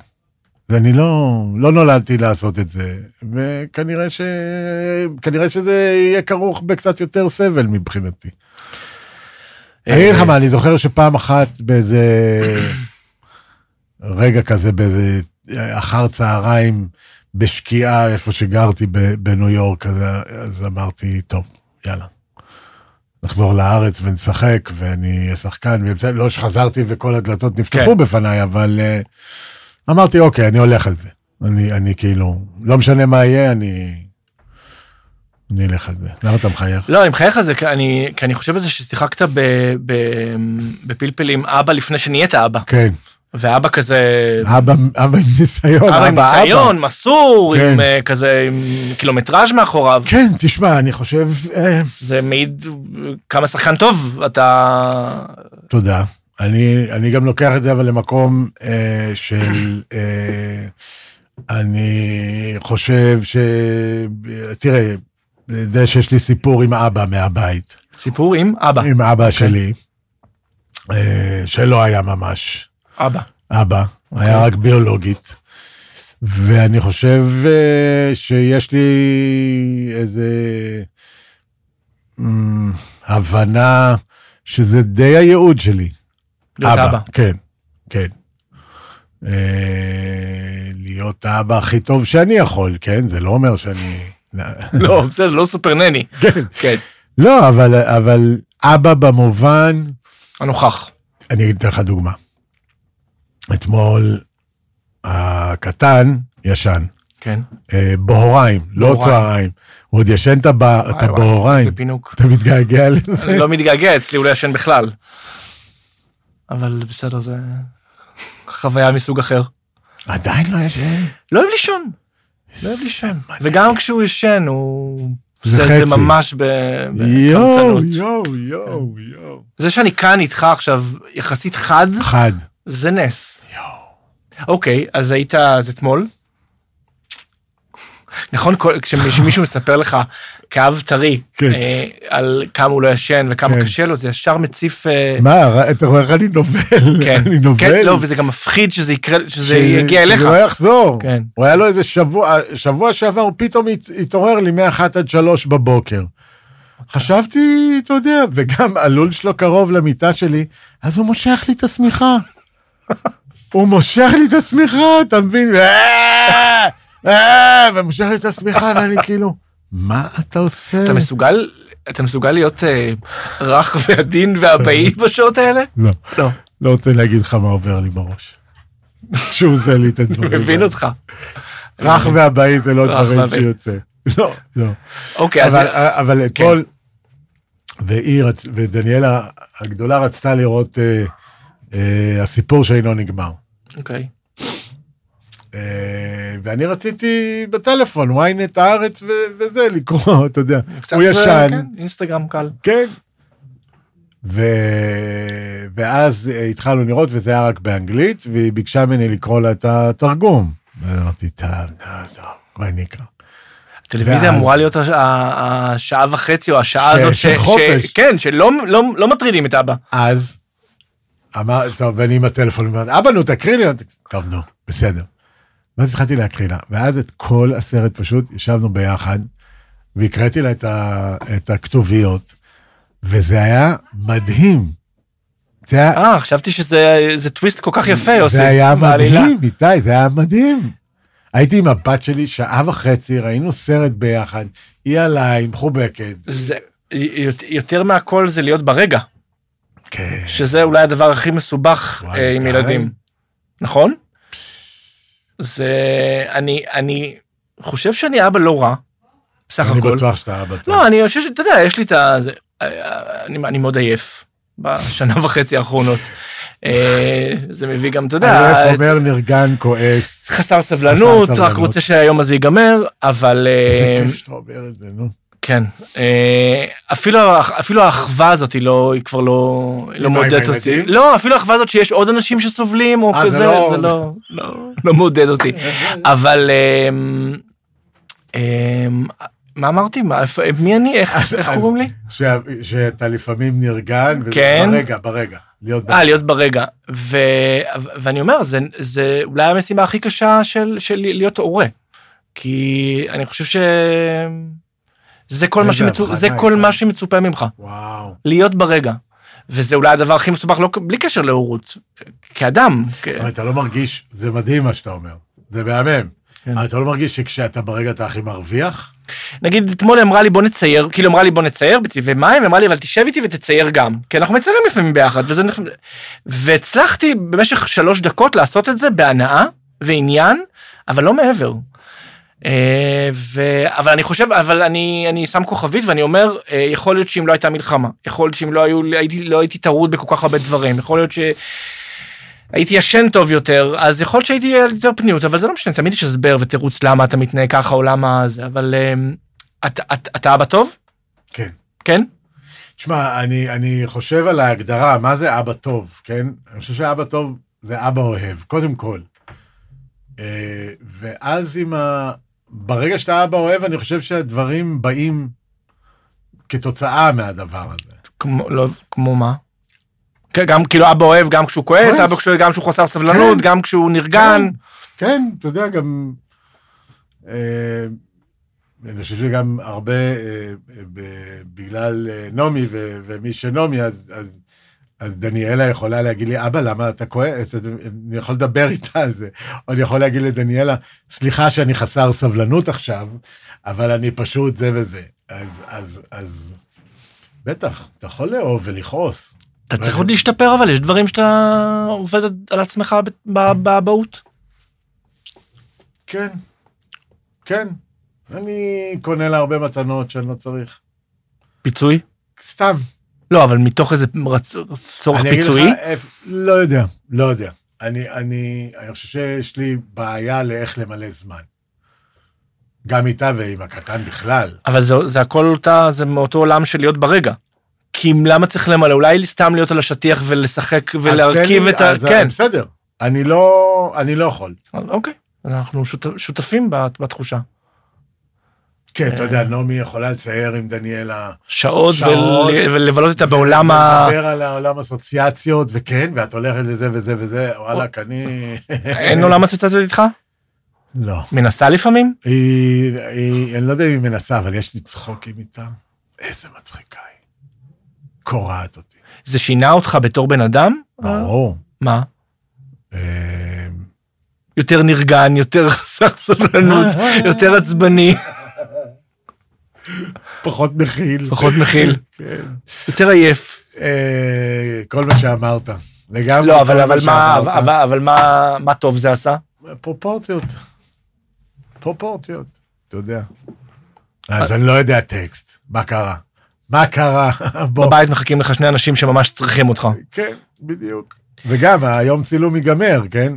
B: אז אני לא, לא נולדתי לעשות את זה, וכנראה ש... כנראה שזה יהיה כרוך בקצת יותר סבל מבחינתי.
A: אה,
B: אני אגיד לך מה, אני זוכר שפעם אחת באיזה <clears throat> רגע כזה, באיזה אה, אחר צהריים, בשקיעה, איפה שגרתי ב- בניו יורק, אז, אז אמרתי, טוב, יאללה. נחזור לארץ ונשחק, ואני אהיה שחקן, ובסדר, לא שחזרתי וכל הדלתות נפתחו
A: כן.
B: בפניי, אבל אה, אמרתי, אוקיי, אני הולך על זה. אני, אני כאילו, לא משנה מה יהיה, אני... אני אלך על זה. למה אתה מחייך?
A: לא אני מחייך על זה כי אני כי אני חושב על זה ששיחקת ב- ב- בפלפלים אבא לפני שנהיית אבא
B: כן,
A: ואבא כזה
B: אבא אבא עם ניסיון,
A: אבא
B: אה, אבא
A: עם ניסיון מסור
B: כן.
A: עם אה, כזה עם קילומטראז' מאחוריו.
B: כן, תשמע, אני חושב, אה,
A: זה מעיד כמה שחקן טוב אתה
B: תודה. אני, אני גם לוקח את זה אבל למקום אה, של, אה, אני חושב ש... תראה, אתה יודע שיש לי סיפור עם אבא מהבית,
A: סיפור עם אבא
B: עם אבא שלי, אה, שלא היה ממש.
A: אבא
B: אבא, okay.
A: אוקיי.
B: היה רק ביולוגית. ואני חושב אה, שיש לי איזה אמ, הבנה שזה די הייעוד שלי.
A: להיות אבא.
B: כן, כן. אה, להיות האבא הכי טוב שאני יכול, כן? זה לא אומר שאני...
A: <laughs> לא, בסדר, לא סופר נני.
B: כן.
A: כן.
B: לא, אבל, אבל אבא במובן,
A: הנוכח.
B: אני אתן לך דוגמה. אתמול הקטן ישן,
A: כן.
B: אה, בהוריים, לא
A: בהוריים.
B: צהריים. הוא עוד ישן את הבא- את
A: וואי, וואי,
B: הבהוריים.
A: זה פינוק.
B: אתה מתגעגע לזה?
A: <laughs> אני לא מתגעגע, אצלי הוא לא ישן בכלל. אבל בסדר, זה חוויה מסוג אחר.
B: עדיין לא ישן.
A: לא אוהב לישון. לא אוהב לישון. וגם כשהוא ישן, הוא...
B: זה
A: עושה את זה
B: חצי.
A: ממש ב-
B: יואו,
A: בחמצנות.
B: יואו, יואו, יואו.
A: זה שאני כאן איתך עכשיו יחסית חד,
B: חד.
A: זה נס.
B: יואו.
A: אוקיי, אז היית אז אתמול? נכון, כל- כשמישהו מספר לך כאב טרי
B: כן.
A: אה, על כמה הוא לא ישן וכמה
B: כן.
A: קשה לו, זה ישר מציף... אה,
B: מה, ר- אתה רואה איך אני נובל?
A: כן,
B: <laughs> אני נובל.
A: כן, לא, וזה גם מפחיד שזה יקרה, שזה יגיע אליך.
B: שזה לא יחזור.
A: כן.
B: הוא היה לו איזה שבוע, שבוע שעבר הוא פתאום הת- התעורר לי מ-1 עד 3 בבוקר. חשבתי, אתה יודע, וגם הלול שלו קרוב למיטה שלי, אז הוא מושך לי את השמיכה. <laughs> הוא מושך לי את השמיכה, אתה מבין? אה, אה, ומושך לי את השמיכה, <laughs> ואני כאילו, מה אתה עושה?
A: אתה מסוגל, אתה מסוגל להיות אה, רך <laughs> ועדין ואבאי בשעות האלה?
B: לא,
A: לא,
B: לא רוצה להגיד לך מה עובר לי בראש. <laughs> שהוא עושה לי את הדברים.
A: אני מבין
B: האלה.
A: אותך.
B: רך והבאי זה לא
A: רך
B: דברים
A: והבאי.
B: שיוצא. לא, לא.
A: אוקיי, אז
B: אבל- אבל אתמול, והיא, רצ- ודניאלה הגדולה רצתה לראות אה, אה, הסיפור שאינו נגמר.
A: אוקיי.
B: אה, ואני רציתי בטלפון, ynet הארץ ו- וזה, לקרוא, <laughs> אתה יודע.
A: קצת,
B: הוא
A: אה,
B: ישן,
A: כן, אינסטגרם קל.
B: כן. ו... ואז אה, התחלנו לראות, וזה היה רק באנגלית, והיא ביקשה ממני לקרוא לה את התרגום. ואמרתי, טוב, טוב, טוב, מה נקרא?
A: טלוויזיה
B: ואז-
A: אמורה להיות הש- ה- השעה וחצי או השעה
B: ש-
A: הזאת
B: של חופש.
A: כן, שלא לא, לא מטרידים את אבא.
B: אז אמר, טוב, ואני עם הטלפון, אני אומר, אבא, נו, תקריא לי. אמרתי, טוב, נו, בסדר. ואז התחלתי להקריא לה, ואז את כל הסרט פשוט ישבנו ביחד, והקראתי לה את, ה, את הכתוביות, וזה היה מדהים. זה היה,
A: אה, חשבתי שזה זה טוויסט כל כך יפה, יוסי.
B: זה היה
A: בעלילה.
B: מדהים, איתי, זה היה מדהים. הייתי עם הבת שלי שעה וחצי, ראינו סרט ביחד, היא עליי, מחובקת.
A: זה- י- יותר מהכל זה להיות ברגע,
B: כן.
A: שזה אולי הדבר הכי מסובך
B: וואי,
A: אה, עם
B: די.
A: ילדים, נכון? זה... אני, אני חושב שאני אבא לא רע, בסך
B: אני
A: הכל.
B: בטוח שאתה אבא טוב.
A: לא, אני חושב שאתה יודע, יש לי את ה... זה- אה, אני, אני מאוד עייף בשנה <laughs> וחצי האחרונות. אה, זה מביא גם, אתה יודע, אה,
B: אני אומר נרגן, כועס.
A: חסר סבלנות,
B: חסר
A: רק
B: סבלנות.
A: רוצה שהיום הזה ייגמר, אבל
B: איזה
A: אה,
B: כיף שאתה אומר את זה, נו.
A: כן, אה, אפילו האח- אפילו האחווה הזאת היא לא, היא כבר לא, היא לא
B: עם
A: מעודדת אותי.
B: הילדים?
A: לא, אפילו האחווה הזאת שיש עוד אנשים שסובלים או
B: אה, זה
A: כזה,
B: לא-
A: זה לא, לא, לא מעודד אותי. אבל אה, אה, מה אמרתי? מה- מי אני? איך
B: אז-
A: איך
B: אז-
A: קוראים לי?
B: שה- שאתה לפעמים נרגן, וזה
A: כן.
B: ברגע, ברגע. להיות
A: אה,
B: ברגע.
A: להיות ברגע. ו... ואני אומר, זה, זה אולי המשימה הכי קשה של, של להיות הורה. כי אני חושב ש... זה כל, מה,
B: איזה
A: שמצו...
B: הבחנה
A: זה כל
B: הייתה.
A: מה שמצופה ממך,
B: וואו.
A: להיות ברגע. וזה אולי הדבר הכי מסובך, לא... בלי קשר להורות, כאדם. כ...
B: אבל אתה לא מרגיש, זה מדהים מה שאתה אומר. זה מהמם.
A: כן.
B: אבל אתה לא מרגיש שכשאתה ברגע אתה הכי מרוויח?
A: נגיד, אתמול היא אמרה לי בוא נצייר, כאילו אמרה לי בוא נצייר בצבעי מים, אמרה לי אבל תשב איתי ותצייר גם, כי אנחנו מציירים לפעמים ביחד, וזה נכון. והצלחתי במשך שלוש דקות לעשות את זה בהנאה ועניין, אבל לא מעבר. אה, ו... אבל אני חושב, אבל אני, אני שם כוכבית ואני אומר, אה, יכול להיות שאם לא הייתה מלחמה, יכול להיות שאם לא, היו, הייתי, לא הייתי טרוד בכל כך הרבה דברים, יכול להיות ש... הייתי ישן טוב יותר, אז יכול להיות שהייתי יותר פניות, אבל זה לא משנה, תמיד יש הסבר ותירוץ למה אתה מתנהג ככה או למה זה, אבל אמ, אתה- אתה- אתה אבא טוב?
B: כן.
A: כן?
B: תשמע, אני, אני חושב על ההגדרה, מה זה אבא טוב, כן? אני חושב שאבא טוב זה אבא אוהב, קודם כל. אה, ואז עם ה... ברגע שאתה אבא אוהב, אני חושב שהדברים באים כתוצאה מהדבר הזה.
A: כמו, לא, כמו מה? כן, גם כאילו אבא אוהב גם כשהוא כועס,
B: כועס.
A: אבא כשהוא, גם כשהוא חסר סבלנות,
B: כן.
A: גם כשהוא נרגן.
B: כן, אתה יודע, גם... אה, אני חושב שגם הרבה, אה, ב- בגלל אה, נעמי ו- ומי שנעמי, אז, אז, אז דניאלה יכולה להגיד לי, אבא, למה אתה כועס? אז אני יכול לדבר איתה על זה. או אני יכול להגיד לדניאלה, סליחה שאני חסר סבלנות עכשיו, אבל אני פשוט זה וזה. אז, אז, אז, בטח, אתה יכול לאהוב ולכעוס.
A: אתה צריך עוד להשתפר אבל יש דברים שאתה עובד על עצמך ב- ב- באבהות.
B: כן, כן. אני קונה לה הרבה מתנות שאני לא צריך.
A: פיצוי?
B: סתם.
A: לא אבל מתוך איזה רצ- צורך
B: אני אגיד
A: פיצוי?
B: לך, איפ- לא יודע, לא יודע. אני, אני, אני חושב שיש לי בעיה לאיך למלא זמן. גם איתה ועם הקטן בכלל.
A: אבל זה, זה הכל אותה, זה מאותו עולם של להיות ברגע. כי אם למה צריך למלא? אולי סתם להיות על השטיח ולשחק
B: אז תן
A: ולהרכיב
B: לי-
A: את ה...
B: אז
A: כן.
B: בסדר. אני לא, אני לא יכול.
A: אז אוקיי, אז אנחנו שות, שותפים בת- בתחושה.
B: כן, אתה
A: אה.
B: יודע, נעמי יכולה לצייר עם דניאלה.
A: שעות,
B: שעות.
A: ול, ולבלות איתה בעולם
B: <laughs>
A: ה...
B: לדבר על העולם אסוציאציות, וכן, ואת הולכת לזה וזה וזה, וואלכ, אני...
A: אין עולם הסוציאציות איתך?
B: לא.
A: מנסה לפעמים?
B: היא, היא, אני לא יודע אם היא מנסה, אבל יש לי צחוקים איתה. איזה מצחיקה היא. קורעת אותי.
A: זה שינה אותך בתור בן אדם?
B: ברור.
A: מה?
B: אה,
A: יותר נרגן, יותר <laughs> חסר
B: <laughs>
A: סבלנות, יותר עצבני,
B: פחות מכיל.
A: פחות מכיל,
B: <laughs> כן.
A: יותר עייף.
B: אה, כל מה שאמרת. לגמרי.
A: לא,
B: כל
A: אבל אבל מה,
B: שאמרת.
A: אבל- אבל מה, מה טוב זה עשה?
B: פרופורציות. פרופורציות, אתה יודע.
A: אה.
B: אז אני לא יודע טקסט. מה קרה? מה קרה? <laughs> בוא.
A: בבית מחכים לך שני אנשים שממש צריכים אותך.
B: כן, בדיוק. וגם, היום צילום ייגמר, כן?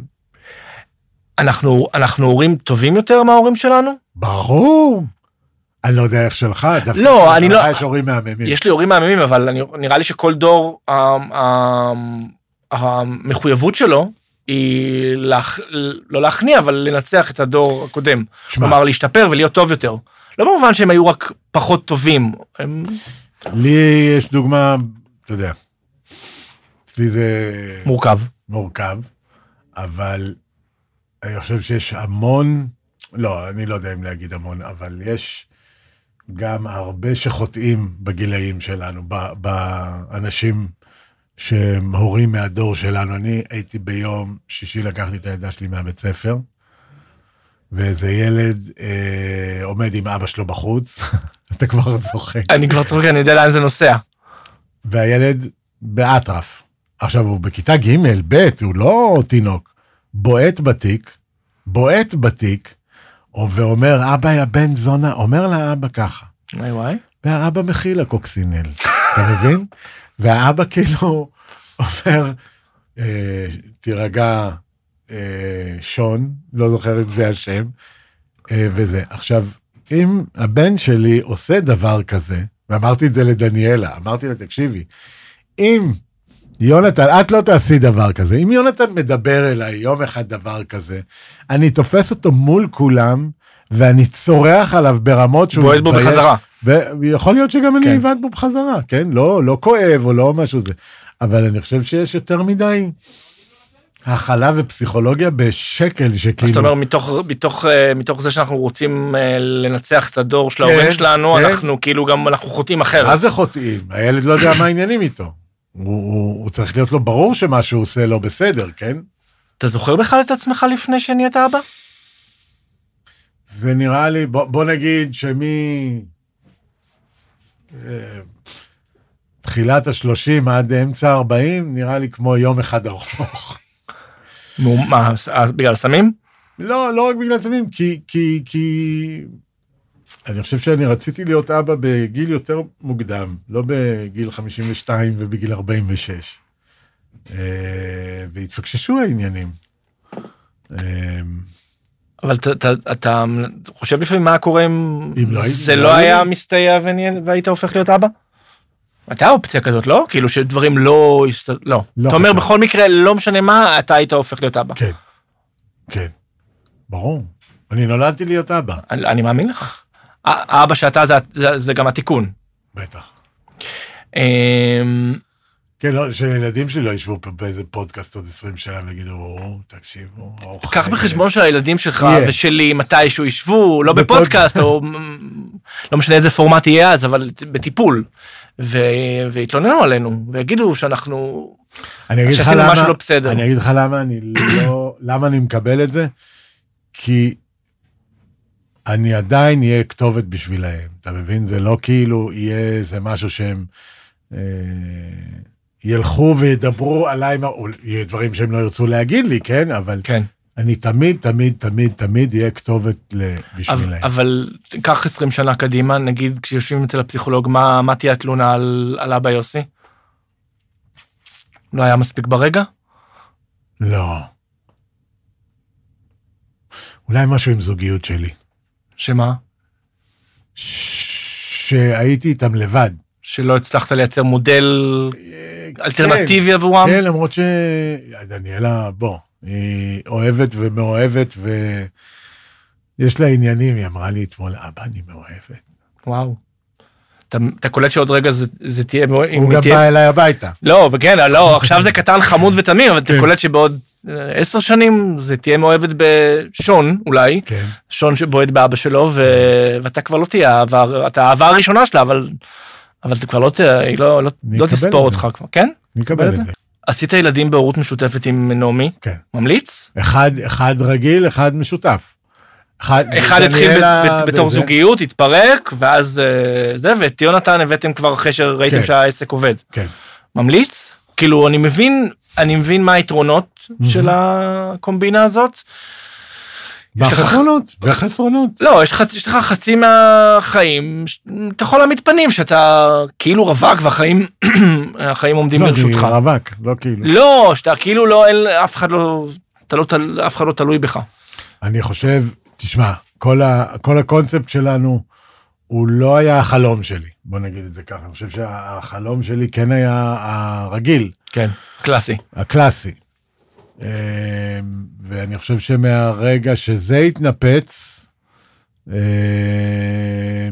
A: אנחנו אנחנו הורים טובים יותר מההורים שלנו?
B: ברור. אני לא יודע איך שלך, דווקא
A: לא,
B: שלך
A: אני לא-
B: יש הורים מהממים.
A: יש לי הורים מהממים, אבל אני- נראה לי שכל דור, ה- ה- המחויבות שלו היא להכ- לא להכניע, אבל לנצח את הדור הקודם.
B: תשמע,
A: כלומר, להשתפר ולהיות טוב יותר. לא במובן שהם היו רק פחות טובים. הם-
B: כן. לי יש דוגמה, אתה יודע, אצלי זה
A: מורכב.
B: מורכב, אבל אני חושב שיש המון, לא, אני לא יודע אם להגיד המון, אבל יש גם הרבה שחוטאים בגילאים שלנו, ב- באנשים שהם הורים מהדור שלנו. אני הייתי ביום שישי, לקחתי את הילדה שלי מהבית ספר, ואיזה ילד אה, עומד עם אבא שלו בחוץ, <laughs> אתה כבר צוחק.
A: אני כבר צוחק, אני יודע לאן זה נוסע.
B: והילד באטרף. עכשיו, הוא בכיתה ג', ב', הוא לא תינוק. בועט בתיק, בועט בתיק, ואומר, אבא, יא בן זונה, אומר לאבא ככה.
A: וואי וואי.
B: והאבא מכיל הקוקסינל, אתה מבין? והאבא כאילו אומר, אה, תירגע, אה, שון, לא זוכר אם זה השם, אה, וזה. עכשיו, אם הבן שלי עושה דבר כזה, ואמרתי את זה לדניאלה, אמרתי לה, תקשיבי, אם יונתן, את לא תעשי דבר כזה, אם יונתן מדבר אליי יום אחד דבר כזה, אני תופס אותו מול כולם, ואני צורח עליו ברמות שהוא
A: בועט בו
B: מתבייש
A: בחזרה.
B: ויכול להיות שגם
A: כן.
B: אני אבעט בו בחזרה, כן? לא, לא כואב או לא משהו זה. אבל אני חושב שיש יותר מדי הכלה ופסיכולוגיה בשקל
A: אז אתה אומר,
B: שכאילו...
A: מתוך- מתוך אה, מתוך זה שאנחנו רוצים אה, לנצח את הדור של
B: כן,
A: ההורים שלנו,
B: כן.
A: אנחנו כאילו גם, אנחנו חוטאים אחרת.
B: מה זה חוטאים? הילד לא יודע מה העניינים איתו. הוא, הוא, הוא צריך להיות לו ברור שמה שהוא עושה לא בסדר, כן?
A: אתה זוכר בכלל את עצמך לפני שנהיית אבא?
B: זה נראה לי, בוא, בוא נגיד שמי... אה, תחילת השלושים עד אמצע הארבעים, נראה לי כמו יום אחד ארוך.
A: נו, מה, אז- אז בגלל סמים?
B: לא, לא רק בגלל עצבים, כי, כי, כי... אני חושב שאני רציתי להיות אבא בגיל יותר מוקדם, לא בגיל 52 ובגיל 46. אה, והתפקששו העניינים. אה,
A: אבל אתה- אתה- אתה חושב לפעמים מה קורה אם
B: אם לא הייתי-
A: זה
B: לא
A: לא היה
B: הייתי.
A: מסתייע ונהיה- והיית הופך להיות אבא? הייתה אופציה כזאת, לא? כאילו שדברים לא... הסת- לא.
B: לא
A: אתה אומר
B: חושב.
A: בכל מקרה, לא משנה מה, אתה היית הופך להיות אבא.
B: כן, כן, ברור. אני נולדתי להיות אבא,
A: אני אני מאמין לך. ה- האבא שאתה זה- זה- זה גם התיקון.
B: בטח.
A: אמ,
B: כן, לא, שהילדים שלי לא ישבו פה באיזה פודקאסט עוד 20 שנה ויגידו, או, תקשיבו, אוקיי." או
A: קח
B: חיים".
A: בחשבון שהילדים שלך
B: אה, יהיה.
A: ושלי מתישהו ישבו, לא
B: בפוד-
A: בפודקאסט,
B: <laughs>
A: או לא משנה איזה פורמט יהיה אז, אבל בטיפול, ו- ויתלוננו עלינו, ויגידו שאנחנו...
B: אני אגיד לך
A: שעשינו
B: למה,
A: משהו לא בסדר.
B: אני אגיד לך למה אני לא, <coughs> למה אני מקבל את זה, כי אני עדיין אהיה כתובת בשבילהם, אתה מבין? זה לא כאילו יהיה איזה משהו שהם אה, ילכו וידברו עליי, מה- או יהיה דברים שהם לא ירצו להגיד לי, כן? אבל
A: כן.
B: אני תמיד, תמיד, תמיד, תמיד אהיה כתובת ל-
A: אבל,
B: בשבילהם.
A: אבל קח 20 שנה קדימה, נגיד כשיושבים אצל הפסיכולוג, מה, מה תהיה התלונה על, על אבא יוסי? לא היה מספיק ברגע?
B: לא. אולי משהו עם זוגיות שלי,
A: שמה?
B: ש- שהייתי איתם לבד.
A: שלא הצלחת לייצר מודל
B: אה,
A: אלטרנטיבי עבורם?
B: כן, כן, למרות שדניאלה, בוא, היא אוהבת ומאוהבת, ויש לה עניינים, היא אמרה לי אתמול, אבא, אני מאוהבת.
A: וואו. אתה, אתה קולט שעוד רגע זה, זה תהיה... אם
B: הוא
A: היא
B: גם
A: תהיה-
B: בא אליי הביתה.
A: לא, כן, לא, עכשיו זה קטן חמוד ותמים, אבל
B: כן.
A: אתה קולט שבעוד אה, עשר שנים זה תהיה מאוהבת בשון אולי,
B: כן.
A: שון שבועט באבא שלו, ו... ואתה כבר לא תהיה העבר, אתה האהבה הראשונה שלה, אבל, אבל אתה כבר לא תהיה, היא לא, לא,
B: אני
A: לא
B: אקבל את
A: תספור
B: זה.
A: אותך כבר, כן?
B: אני
A: קבל
B: אקבל
A: את
B: את
A: זה?
B: זה.
A: עשית ילדים בהורות משותפת עם נעמי?
B: כן.
A: ממליץ?
B: אחד, אחד רגיל, אחד משותף.
A: אחד התחיל ב-
B: דניאלה
A: ב- בתור
B: וזה.
A: זוגיות, התפרק, ואז אה, זה, ואת יונתן הבאתם כבר אחרי שראיתם
B: כן.
A: שהעסק עובד.
B: כן.
A: ממליץ? כאילו, אני מבין, אני מבין מה היתרונות של הקומבינה הזאת. יש לך-
B: והחסרונות, והחסרונות.
A: לא, יש, חצ... יש לך חצי מהחיים, ש... אתה יכול להעמיד פנים שאתה כאילו רווק והחיים <clears throat> החיים עומדים
B: לא, אני
A: לרשותך.
B: רווק, לא כאילו.
A: לא, שאתה כאילו לא, אין, אף אחד לא, אתה לא, תל- אף אחד לא תלוי בך.
B: אני חושב, תשמע, כל, ה, כל הקונספט שלנו, הוא לא היה החלום שלי, בוא נגיד את זה ככה. אני חושב שהחלום שלי כן היה הרגיל,
A: כן. קלאסי.
B: הקלאסי. אה, ואני חושב שמהרגע שזה התנפץ, אמ, אה,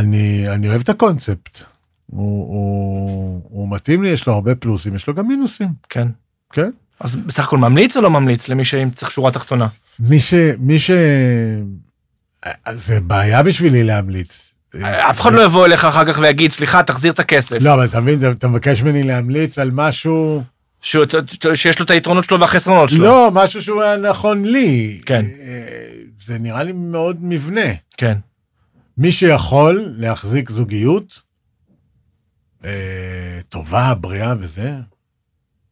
B: אני, אני אוהב את הקונספט. הוא, הוא, הוא מתאים לי, יש לו הרבה פלוסים, יש לו גם מינוסים,
A: כן.
B: כן?
A: אז בסך הכל ממליץ או לא ממליץ למי שצריך שורה תחתונה?
B: מי ש... מי ש... זה בעיה בשבילי להמליץ.
A: אף אחד לא יבוא אליך אחר כך ויגיד, סליחה, תחזיר את הכסף.
B: לא, אבל אתה מבין, אתה- אתה מבקש ממני להמליץ על משהו...
A: שהוא- שיש לו את היתרונות שלו והחסרונות שלו.
B: לא, משהו שהוא היה נכון לי.
A: כן.
B: אה, זה נראה לי מאוד מבנה.
A: כן.
B: מי שיכול להחזיק זוגיות אה, טובה, בריאה וזה,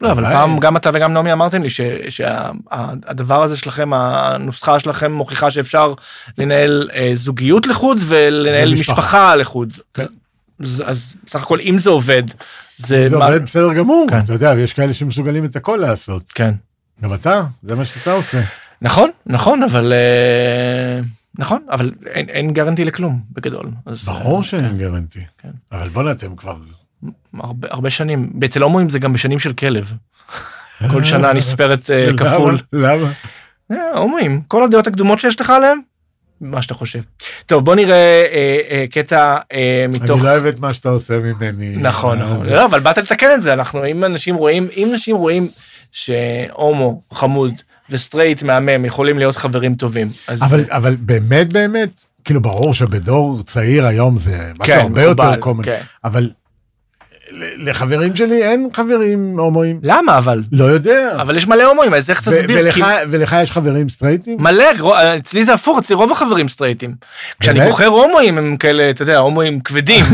A: לא, אבל
B: אבל-
A: פעם גם אתה וגם נעמי אמרתם לי שהדבר הזה שלכם, הנוסחה שלכם מוכיחה שאפשר לנהל אה, זוגיות לחוד ולנהל
B: ומשפחה.
A: משפחה לחוד.
B: כן.
A: אז אז בסך הכל אם זה עובד, זה...
B: זה
A: מה-
B: עובד בסדר גמור.
A: כן.
B: אתה יודע, יש כאלה שמסוגלים את הכל לעשות.
A: כן.
B: גם אתה, זה מה שאתה עושה.
A: נכון, נכון, אבל... אה, נכון, אבל אין- אין גרנטי לכלום בגדול. אז,
B: ברור
A: אה,
B: שאין גרנטי.
A: כן.
B: אבל בוא'נה, אתם כבר...
A: הרבה, הרבה שנים. אצל הומואים זה גם בשנים של כלב. כל שנה נספרת
B: <laughs>
A: אה,
B: למה?
A: כפול.
B: למה?
A: אה, הומואים, כל הדעות הקדומות שיש לך עליהם, מה שאתה חושב. טוב, בוא נראה אה, אה, קטע אה, מתוך...
B: אני לא אוהב את מה שאתה עושה ממני.
A: נכון,
B: אה,
A: נכון. לא, אבל באת לתקן את זה, אנחנו, אם אנשים רואים, אם אנשים רואים שהומו חמוד וסטרייט מהמם יכולים להיות חברים טובים, אז...
B: אבל, אבל באמת באמת, כאילו ברור שבדור צעיר היום זה משהו
A: כן,
B: הרבה
A: מקובל,
B: יותר קומן,
A: כן.
B: אבל ל- לחברים שלי אין חברים הומואים,
A: למה אבל?
B: לא יודע.
A: אבל יש מלא הומואים, אז איך
B: ו-
A: תסביר?
B: ולך,
A: כי-
B: ולך יש חברים סטרייטים?
A: מלא, רו- אצלי זה הפוך, אצלי רוב החברים סטרייטים. כשאני
B: באמת?
A: בוחר הומואים הם כאלה, אתה יודע, הומואים
B: <laughs>
A: כבדים,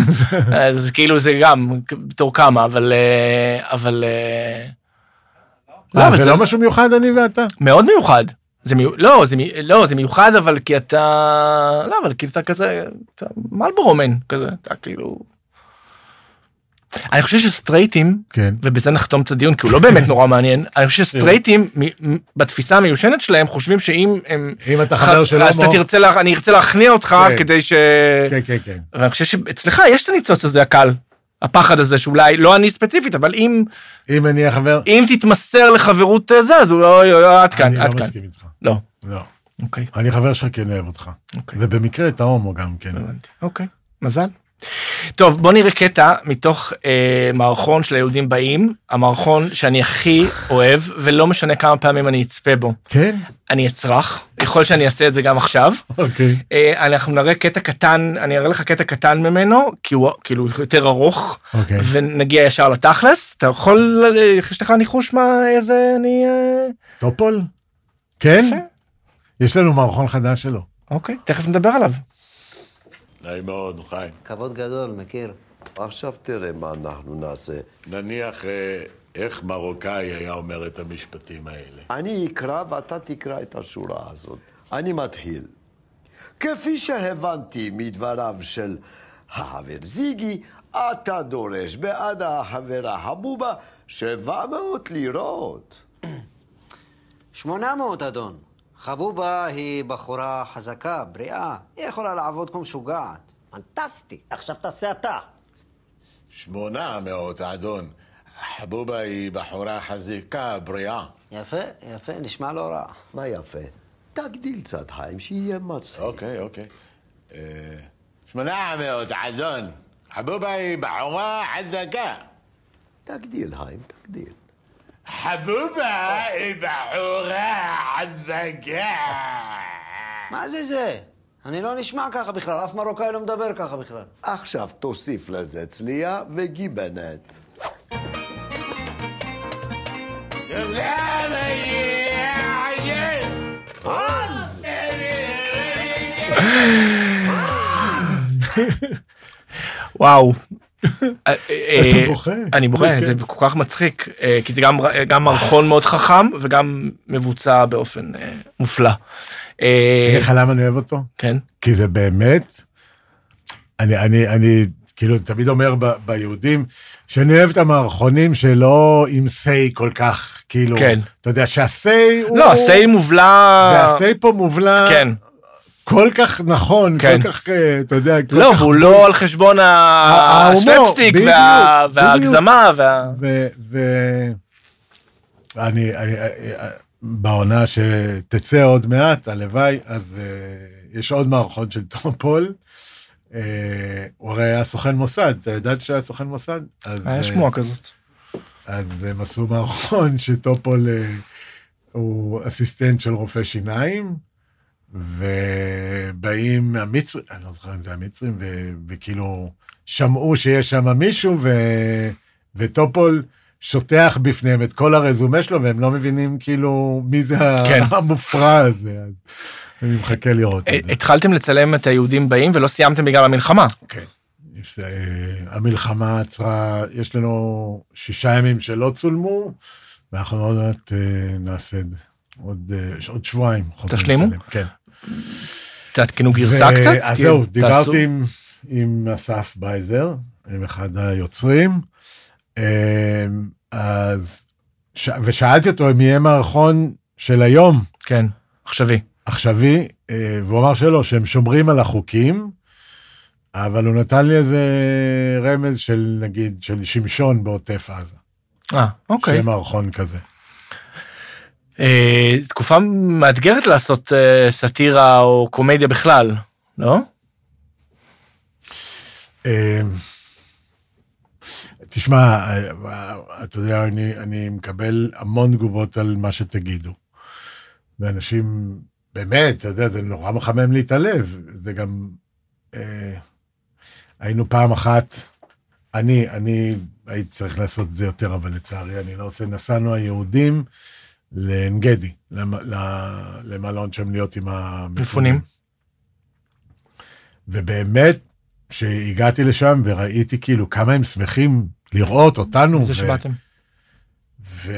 A: אז כאילו זה גם בתור כמה, אבל... אה, אבל... אה, לא,
B: אה,
A: אבל
B: זה לא משהו מיוחד אני ואתה?
A: מאוד מיוחד. זה מיו... לא, זה מי... לא, זה מיוחד, אבל כי אתה... לא, אבל כי אתה כזה... אתה מלבורומן כזה, אתה כאילו... אני חושב שסטרייטים,
B: כן.
A: ובזה נחתום את הדיון, כי הוא לא באמת נורא מעניין, אני
B: <laughs>
A: חושב שסטרייטים, מ- מ- בתפיסה המיושנת שלהם, חושבים שאם הם...
B: אם אתה חבר של
A: אז אתה
B: הומו...
A: תרצה, לה... אני ארצה להכניע אותך
B: כן.
A: כדי ש...
B: כן, כן, כן.
A: אבל אני חושב שאצלך יש את הניצוץ הזה הקל. הפחד הזה שאולי לא אני ספציפית אבל אם
B: אם אני אהיה חבר...
A: אם תתמסר לחברות אה, זה אז הוא לא, לא, לא עד כאן
B: אני
A: עד
B: לא
A: כאן
B: מסכים איתך.
A: לא
B: לא.
A: אוקיי
B: אני חבר שלך כי אני אוהב אותך.
A: אוקיי.
B: ובמקרה אתה הומו גם כן.
A: הבנתי. אוקיי, מזל. טוב, בוא נראה קטע מתוך אה, מערכון של היהודים באים, המערכון שאני הכי אוהב, ולא משנה כמה פעמים אני אצפה בו.
B: כן?
A: אני אצרח, יכול להיות שאני אעשה את זה גם עכשיו.
B: אוקיי.
A: אה, אנחנו נראה קטע קטן, אני אראה לך קטע קטן ממנו, כי הוא כאילו יותר ארוך,
B: אוקיי.
A: ונגיע ישר לתכלס. אתה יכול, אה, יש לך ניחוש מה, איזה אני... אה,
B: טופול? כן?
A: יפה.
B: יש לנו מערכון חדש שלו.
A: אוקיי, תכף נדבר עליו.
D: נעים מאוד, חיים.
E: כבוד גדול, מכיר.
F: עכשיו תראה מה אנחנו נעשה.
D: נניח אה, איך מרוקאי היה אומר את המשפטים האלה.
F: אני אקרא ואתה תקרא את השורה הזאת. אני מתחיל. כפי שהבנתי מדבריו של החבר זיגי, אתה דורש בעד החברה הבובה 700 לירות.
E: 800, אדון. חבובה היא בחורה חזקה, בריאה. היא יכולה לעבוד כמו משוגעת. פנטסטי. עכשיו תעשה אתה.
D: שמונה מאות, אדון. חבובה היא בחורה חזיקה, בריאה.
E: יפה, יפה, נשמע לא רע.
F: מה יפה? תגדיל קצת, חיים, שיהיה מצחיק.
D: אוקיי, אוקיי. אה, שמונה מאות, אדון. חבובה היא בחורה חזקה.
F: תגדיל, חיים, תגדיל.
D: חבובה היא בחורה חזקה.
E: מה זה זה? אני לא נשמע ככה בכלל, אף מרוקאי לא מדבר ככה בכלל.
F: עכשיו תוסיף לזה צליה וגיבנת.
D: אה,
A: וואו. אה, אה,
B: בוכה.
A: אני בוכה,
B: כן.
A: זה כל כך מצחיק, אה, כי זה גם ר- גם מערכון מאוד חכם וגם מבוצע באופן אה, מופלא. אה,
B: אני אגיד לך למה אני אוהב אותו?
A: כן,
B: כי זה באמת, אני, אני, אני כאילו תמיד אומר ב, ביהודים, שאני אוהב את המערכונים שלא עם say כל כך, כאילו,
A: כן.
B: אתה יודע שה-say הוא...
A: לא, הסייל מובלע,
B: וה-say פה מובלע
A: כן,
B: כל כך נכון,
A: כן.
B: כל כך, אה, אתה יודע, כל
A: לא,
B: כך...
A: והוא לא על חשבון ה-
B: ההומור,
A: השלפסטיק
B: בדיוק,
A: וה-
B: בדיוק.
A: וההגזמה, וה-
B: ו... ו- אני, אני, אה, בעונה שתצא עוד מעט, הלוואי, אז אה, יש עוד מערכון של טרופול. אה, הוא הרי היה סוכן מוסד, אתה ידעת שהיה סוכן מוסד? אז,
A: היה שמועה כזאת.
B: אה, אז הם עשו מערכון <laughs> שטופול אה, הוא אסיסטנט של רופא שיניים, ובאים המצרים, אני לא זוכר אם זה המצרים, ו, וכאילו שמעו שיש שם מישהו, ו, וטופול שוטח בפניהם את כל הרזומה שלו, והם לא מבינים כאילו מי זה
A: כן. אה,
B: המופרע הזה. אז אני מחכה לראות את זה.
A: התחלתם לצלם את היהודים באים ולא סיימתם בגלל המלחמה.
B: כן. יש, אה, המלחמה עצרה, יש לנו שישה ימים שלא צולמו, ואנחנו עוד מעט אה, נעשה את זה. עוד, אה, יש עוד שבועיים. חוזרים
A: תשלימו?
B: לצלם, כן.
A: תעדכנו גרסה
B: ו-
A: קצת?
B: אז
A: כאילו,
B: זהו,
A: תעשו-
B: דיברתי עם, עם אסף בייזר, עם אחד היוצרים, אה, אז, ש, ושאלתי אותו אם יהיה מערכון של היום,
A: כן, עכשווי.
B: עכשווי, אה, והוא אמר שלא, שהם שומרים על החוקים, אבל הוא נתן לי איזה רמז של נגיד, של שמשון בעוטף עזה.
A: אה, אוקיי.
B: שיהיה מערכון כזה.
A: אה, תקופה מאתגרת לעשות אה, סאטירה או קומדיה בכלל, לא?
B: אה, תשמע, אה, אה, אתה יודע, אני, אני מקבל המון תגובות על מה שתגידו. ואנשים, באמת, אתה יודע, זה נורא מחמם לי את הלב. זה גם... אה, היינו פעם אחת, אני, אני הייתי צריך לעשות את זה יותר, אבל לצערי אני לא עושה, נסענו היהודים לעין גדי, למ, ל- למלון שם להיות עם המפונים.
A: מפונים.
B: ובאמת, כשהגעתי לשם וראיתי כאילו כמה הם שמחים לראות אותנו.
A: זה
B: ו-
A: שבאתם.
B: ו...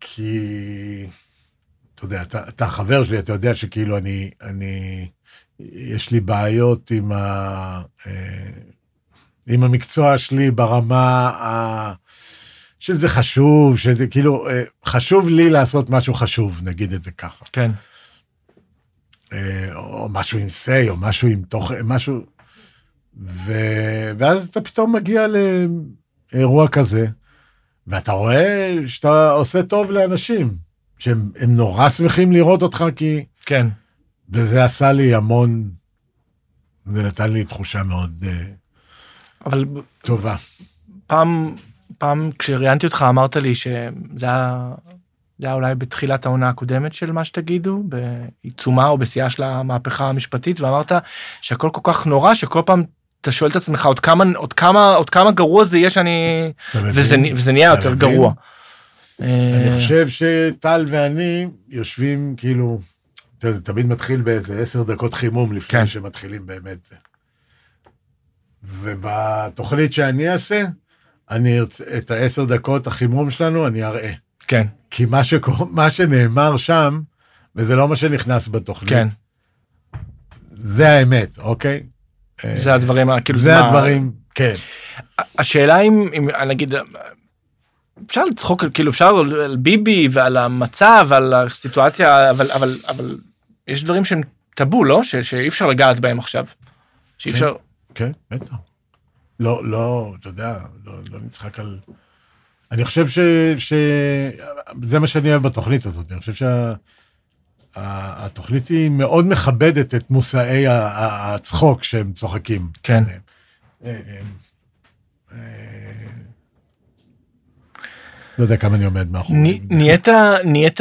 B: כי, אתה יודע, אתה, אתה חבר שלי, אתה יודע שכאילו אני, אני, יש לי בעיות עם, ה... אה, עם המקצוע שלי ברמה ה... שזה חשוב, שזה כאילו, אה, חשוב לי לעשות משהו חשוב, נגיד את זה ככה.
A: כן.
B: אה, או משהו עם say, או משהו עם תוכן, משהו... ו... ואז אתה פתאום מגיע לאירוע כזה, ואתה רואה שאתה עושה טוב לאנשים, שהם הם נורא שמחים לראות אותך, כי...
A: כן.
B: וזה עשה לי המון זה נתן לי תחושה מאוד אה,
A: אבל
B: טובה.
A: פעם, פעם כשראיינתי אותך אמרת לי שזה היה, זה היה אולי בתחילת העונה הקודמת של מה שתגידו, בעיצומה או בשיאה של המהפכה המשפטית, ואמרת שהכל כל כך נורא שכל פעם אתה שואל את עצמך עוד כמה, עוד כמה, עוד כמה גרוע זה יהיה שאני...
B: אתה מבין?
A: וזה, נ- וזה נהיה
B: אתה
A: יותר
B: מבין?
A: גרוע.
B: אני
A: אה,
B: חושב שטל ואני יושבים כאילו, אתה יודע, זה תמיד מתחיל באיזה עשר דקות חימום לפני
A: כן.
B: שמתחילים באמת זה. ובתוכנית שאני אעשה, אני ארצ- את העשר דקות החימום שלנו אני אראה.
A: כן,
B: כי מה, שקור... מה שנאמר שם, וזה לא מה שנכנס בתוכנית,
A: כן,
B: זה האמת, אוקיי? אה,
A: זה הדברים, ה- כאילו
B: זה
A: מה-
B: הדברים, כן.
A: השאלה אם, אם נגיד אפשר לצחוק על- כאילו אפשר על על ביבי ועל המצב ועל הסיטואציה אבל אבל אבל יש דברים שהם טאבו לא ש, שאי אפשר לגעת בהם עכשיו. שאי אפשר
B: כן, בטח. לא, לא, אתה יודע, לא, לא נצחק על... אני חושב ש... ש... זה מה שאני אוהב בתוכנית הזאת. אני חושב שה... ה- התוכנית היא מאוד מכבדת את מושאי ה- ה- הצחוק שהם צוחקים.
A: כן.
B: אה, אה, אה, לא יודע כמה אני עומד מאחורי.
A: נ, נהיית נהיית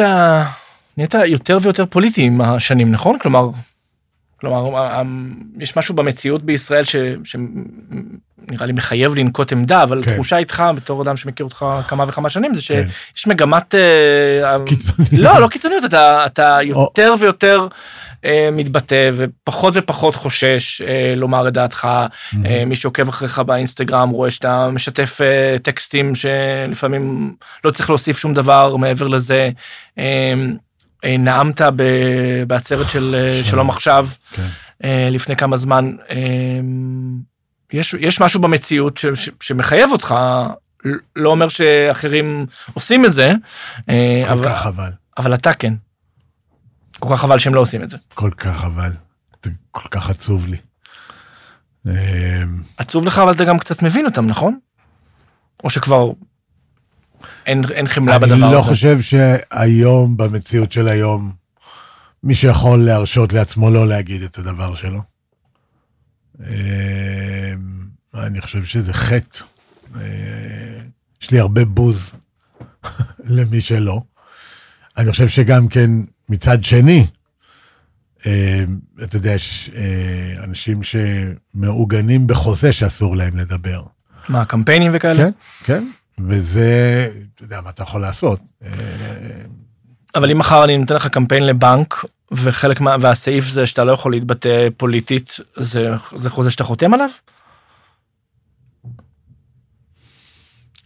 A: נהיית יותר ויותר פוליטי עם השנים נכון כלומר. כלומר ה- ה- יש משהו במציאות בישראל ש, שנראה לי מחייב לנקוט עמדה אבל
B: כן.
A: התחושה איתך בתור אדם שמכיר אותך כמה וכמה שנים זה
B: כן.
A: שיש מגמת אה, ה-
B: קיצוני.
A: לא, לא קיצוניות, אתה, אתה יותר ויותר אה, מתבטא ופחות ופחות חושש אה, לומר את דעתך. אה, מי שעוקב אחריך באינסטגרם רואה שאתה משתף אה, טקסטים שלפעמים לא צריך להוסיף שום דבר מעבר לזה. אה, אה, נאמת ב- בעצרת של אה, שלום עכשיו
B: כן.
A: אה, לפני כמה זמן. אה, יש, יש משהו במציאות ש, ש, שמחייב אותך, ל- לא אומר שאחרים עושים את זה, אה,
B: כל
A: אבל,
B: כך חבל.
A: אבל אתה כן. כל כך חבל שהם לא עושים את זה.
B: כל כך חבל. זה כל כך עצוב לי. אה,
A: עצוב לך אבל אתה גם קצת מבין אותם נכון? או שכבר אין, אין חמלה בדבר
B: אני
A: הזה.
B: לא חושב שהיום, במציאות של היום, מישהו יכול להרשות לעצמו לא להגיד את הדבר שלו. אה, אני חושב שזה חטא. אה, יש לי הרבה בוז <laughs> למי שלא. אני חושב שגם כן, מצד שני, אה, אתה יודע, יש אה, אנשים שמעוגנים בחוזה שאסור להם לדבר.
A: מה קמפיינים וכאלה?
B: כן, כן. וזה, אתה יודע, מה אתה יכול לעשות? אה,
A: אבל אם מחר אני נותן לך קמפיין לבנק וחלק מה והסעיף זה שאתה לא יכול להתבטא פוליטית זה, זה חוזה שאתה חותם עליו?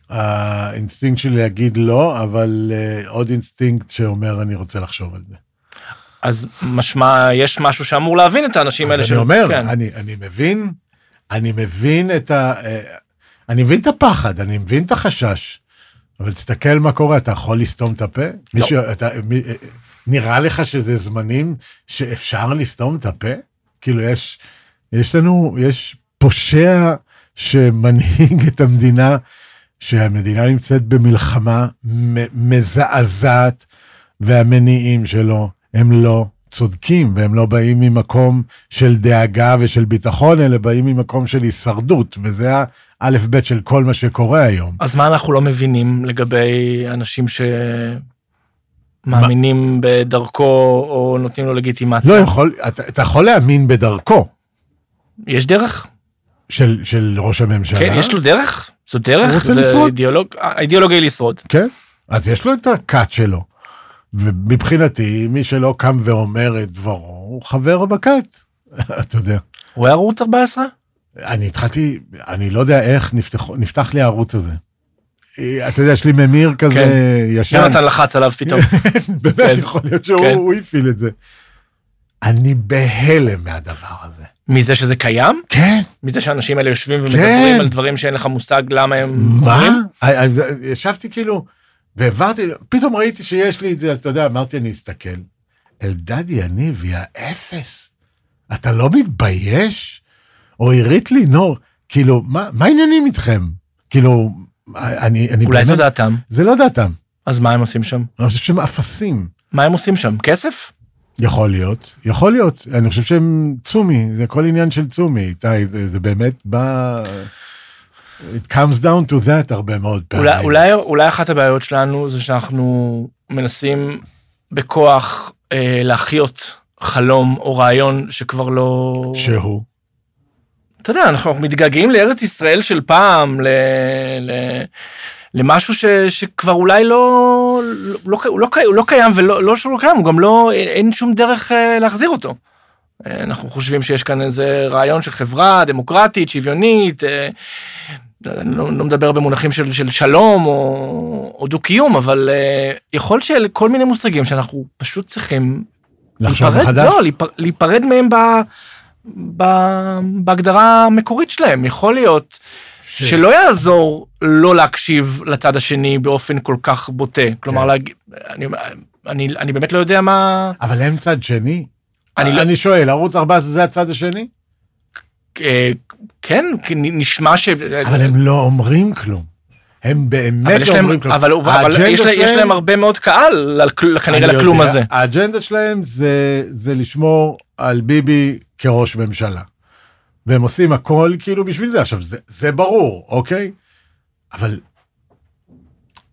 B: האינסטינקט שלי להגיד לא, אבל אה, עוד אינסטינקט שאומר, אני רוצה לחשוב על זה.
A: אז משמע יש משהו שאמור להבין את האנשים האלה.
B: אז
A: של-
B: אני אומר,
A: כן.
B: אני אני מבין, אני מבין את ה... אה, אני מבין את הפחד, אני מבין את החשש, אבל תסתכל מה קורה, אתה יכול לסתום את הפה? מישהו, אתה, מי, אה, נראה לך שזה זמנים שאפשר לסתום את הפה? כאילו, יש, יש לנו, יש פושע שמנהיג את המדינה, שהמדינה נמצאת במלחמה מ- מזעזעת, והמניעים שלו הם לא צודקים, והם לא באים ממקום של דאגה ושל ביטחון, אלא באים ממקום של הישרדות, וזה האלף-בית של כל מה שקורה היום.
A: אז מה אנחנו לא מבינים לגבי אנשים שמאמינים בדרכו או נותנים לו לגיטימציה?
B: לא יכול, אתה, אתה יכול להאמין בדרכו
A: יש דרך? של...
B: של, של ראש הממשלה.
A: כן, יש לו דרך? זו דרך?
B: הוא רוצה
A: זה
B: לשרוד.
A: אידיאולוג... האידיאולוגיה היא לשרוד.
B: כן, אז יש לו את הכת שלו. ומבחינתי, מי שלא קם ואומר את דברו, הוא חבר בכת. <laughs> אתה יודע.
A: הוא היה ערוץ 14?
B: אני התחלתי, אני לא יודע איך נפתח, נפתח לי הערוץ הזה. אה, אתה יודע, יש לי ממיר כזה
A: כן.
B: ישן.
A: יונתן לחץ עליו פתאום.
B: <laughs> באמת,
A: כן.
B: יכול להיות שהוא
A: כן.
B: הוא הפעיל את זה. אני בהלם מהדבר הזה.
A: מזה שזה קיים?
B: כן.
A: מזה שהאנשים האלה יושבים
B: כן.
A: ומדברים על דברים שאין לך מושג למה הם...
B: מה?
A: אומרים?
B: אה, אה, ישבתי כאילו, והעברתי, פתאום ראיתי שיש לי את זה, אז אתה יודע, אמרתי, אני אסתכל. אלדד יניב, יא אפס, אתה לא מתבייש? או עירית לינור, כאילו, מה מה העניינים איתכם? כאילו, אני, אני
A: אולי זו דעתם.
B: זה לא דעתם.
A: אז מה הם עושים שם?
B: אני חושב שהם אפסים.
A: מה הם עושים שם? כסף?
B: יכול להיות, יכול להיות. אני חושב שהם צומי, זה כל עניין של צומי, איתי, זה, זה באמת בא... It comes down to that הרבה מאוד פעמים.
A: אולי, אולי, אולי אחת הבעיות שלנו זה שאנחנו מנסים בכוח אה, להחיות חלום או רעיון שכבר לא...
B: שהוא.
A: אתה יודע, אנחנו מתגעגעים לארץ ישראל של פעם, ל... ל... למשהו ש, שכבר אולי לא, לא, לא, הוא לא, קי- הוא לא קיים ולא לא שהוא לא קיים, הוא גם לא, אין, אין שום דרך אה, להחזיר אותו. אה, אנחנו חושבים שיש כאן איזה רעיון של חברה דמוקרטית, שוויונית, אה, אני לא, לא מדבר במונחים של, של שלום או, או דו-קיום, אבל אה, יכול שאלה כל מיני מושגים שאנחנו פשוט צריכים
B: לחשוב
A: להיפרד-
B: מחדש?
A: לא, להיפר, להיפרד מהם ב, ב, בהגדרה המקורית שלהם. יכול להיות
B: כן.
A: ש... שלא יעזור לא להקשיב לצד השני באופן כל כך בוטה. כלומר,
B: כן.
A: להג... אני, אני, אני באמת לא יודע מה...
B: אבל הם צד שני?
A: אני
B: אני,
A: לא-
B: אני שואל, ערוץ 14 זה הצד השני?
A: אה, כן, כי נ- נשמע ש...
B: אבל הם לא אומרים כלום. הם
A: אבל
B: באמת
A: יש
B: לא
A: להם,
B: אומרים כלום.
A: אבל, אבל יש, לה,
B: האג'נדה
A: יש
B: שלהם-
A: להם הרבה מאוד קהל, על, כל- כנראה
B: אני יודע.
A: לכלום הזה.
B: האג'נדה שלהם זה, זה לשמור על ביבי כראש ממשלה. והם עושים הכל כאילו בשביל זה. עכשיו, זה, זה ברור, אוקיי? אבל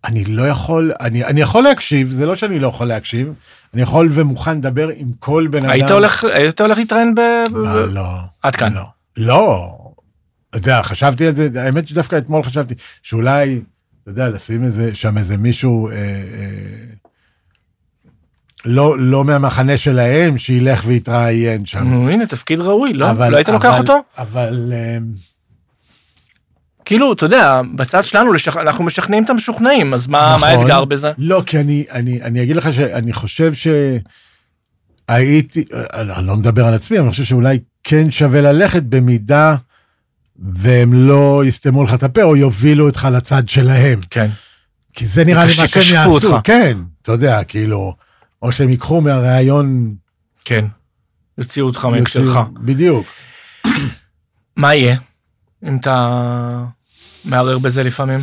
B: אני לא יכול, אני, אני יכול להקשיב, זה לא שאני לא יכול להקשיב, אני יכול ומוכן לדבר עם כל בן אדם.
A: היית הולך, היית הולך להתראיין ב...
B: לא, לא.
A: אה, עד כאן.
B: לא. לא. אתה יודע, חשבתי על זה, האמת שדווקא אתמול חשבתי שאולי, אתה יודע, לשים איזה, שם איזה מישהו, אה, אה, לא, לא מהמחנה שלהם, שילך ויתראיין שם.
A: נו, הנה, תפקיד ראוי, לא? לא היית לוקח
B: אבל-
A: אותו?
B: אבל, אה,
A: כאילו, אתה יודע, בצד שלנו, לשכ... אנחנו משכנעים את המשוכנעים, אז מה, מה האתגר בזה?
B: לא, כי אני, אני, אני אגיד לך שאני חושב שהייתי, אני אני לא מדבר על עצמי, אבל אני חושב שאולי כן שווה ללכת במידה והם לא יסתמו לך את הפה או יובילו אותך לצד שלהם.
A: כן.
B: כי זה נראה לי מה שהם
A: שכשפו
B: יעשו.
A: אותך.
B: כן, אתה יודע, כאילו, או שהם ייקחו מהראיון...
A: כן. יוציאו אותך מהקשרך.
B: יוציאו- בדיוק.
A: מה יהיה אם אתה מערער בזה לפעמים?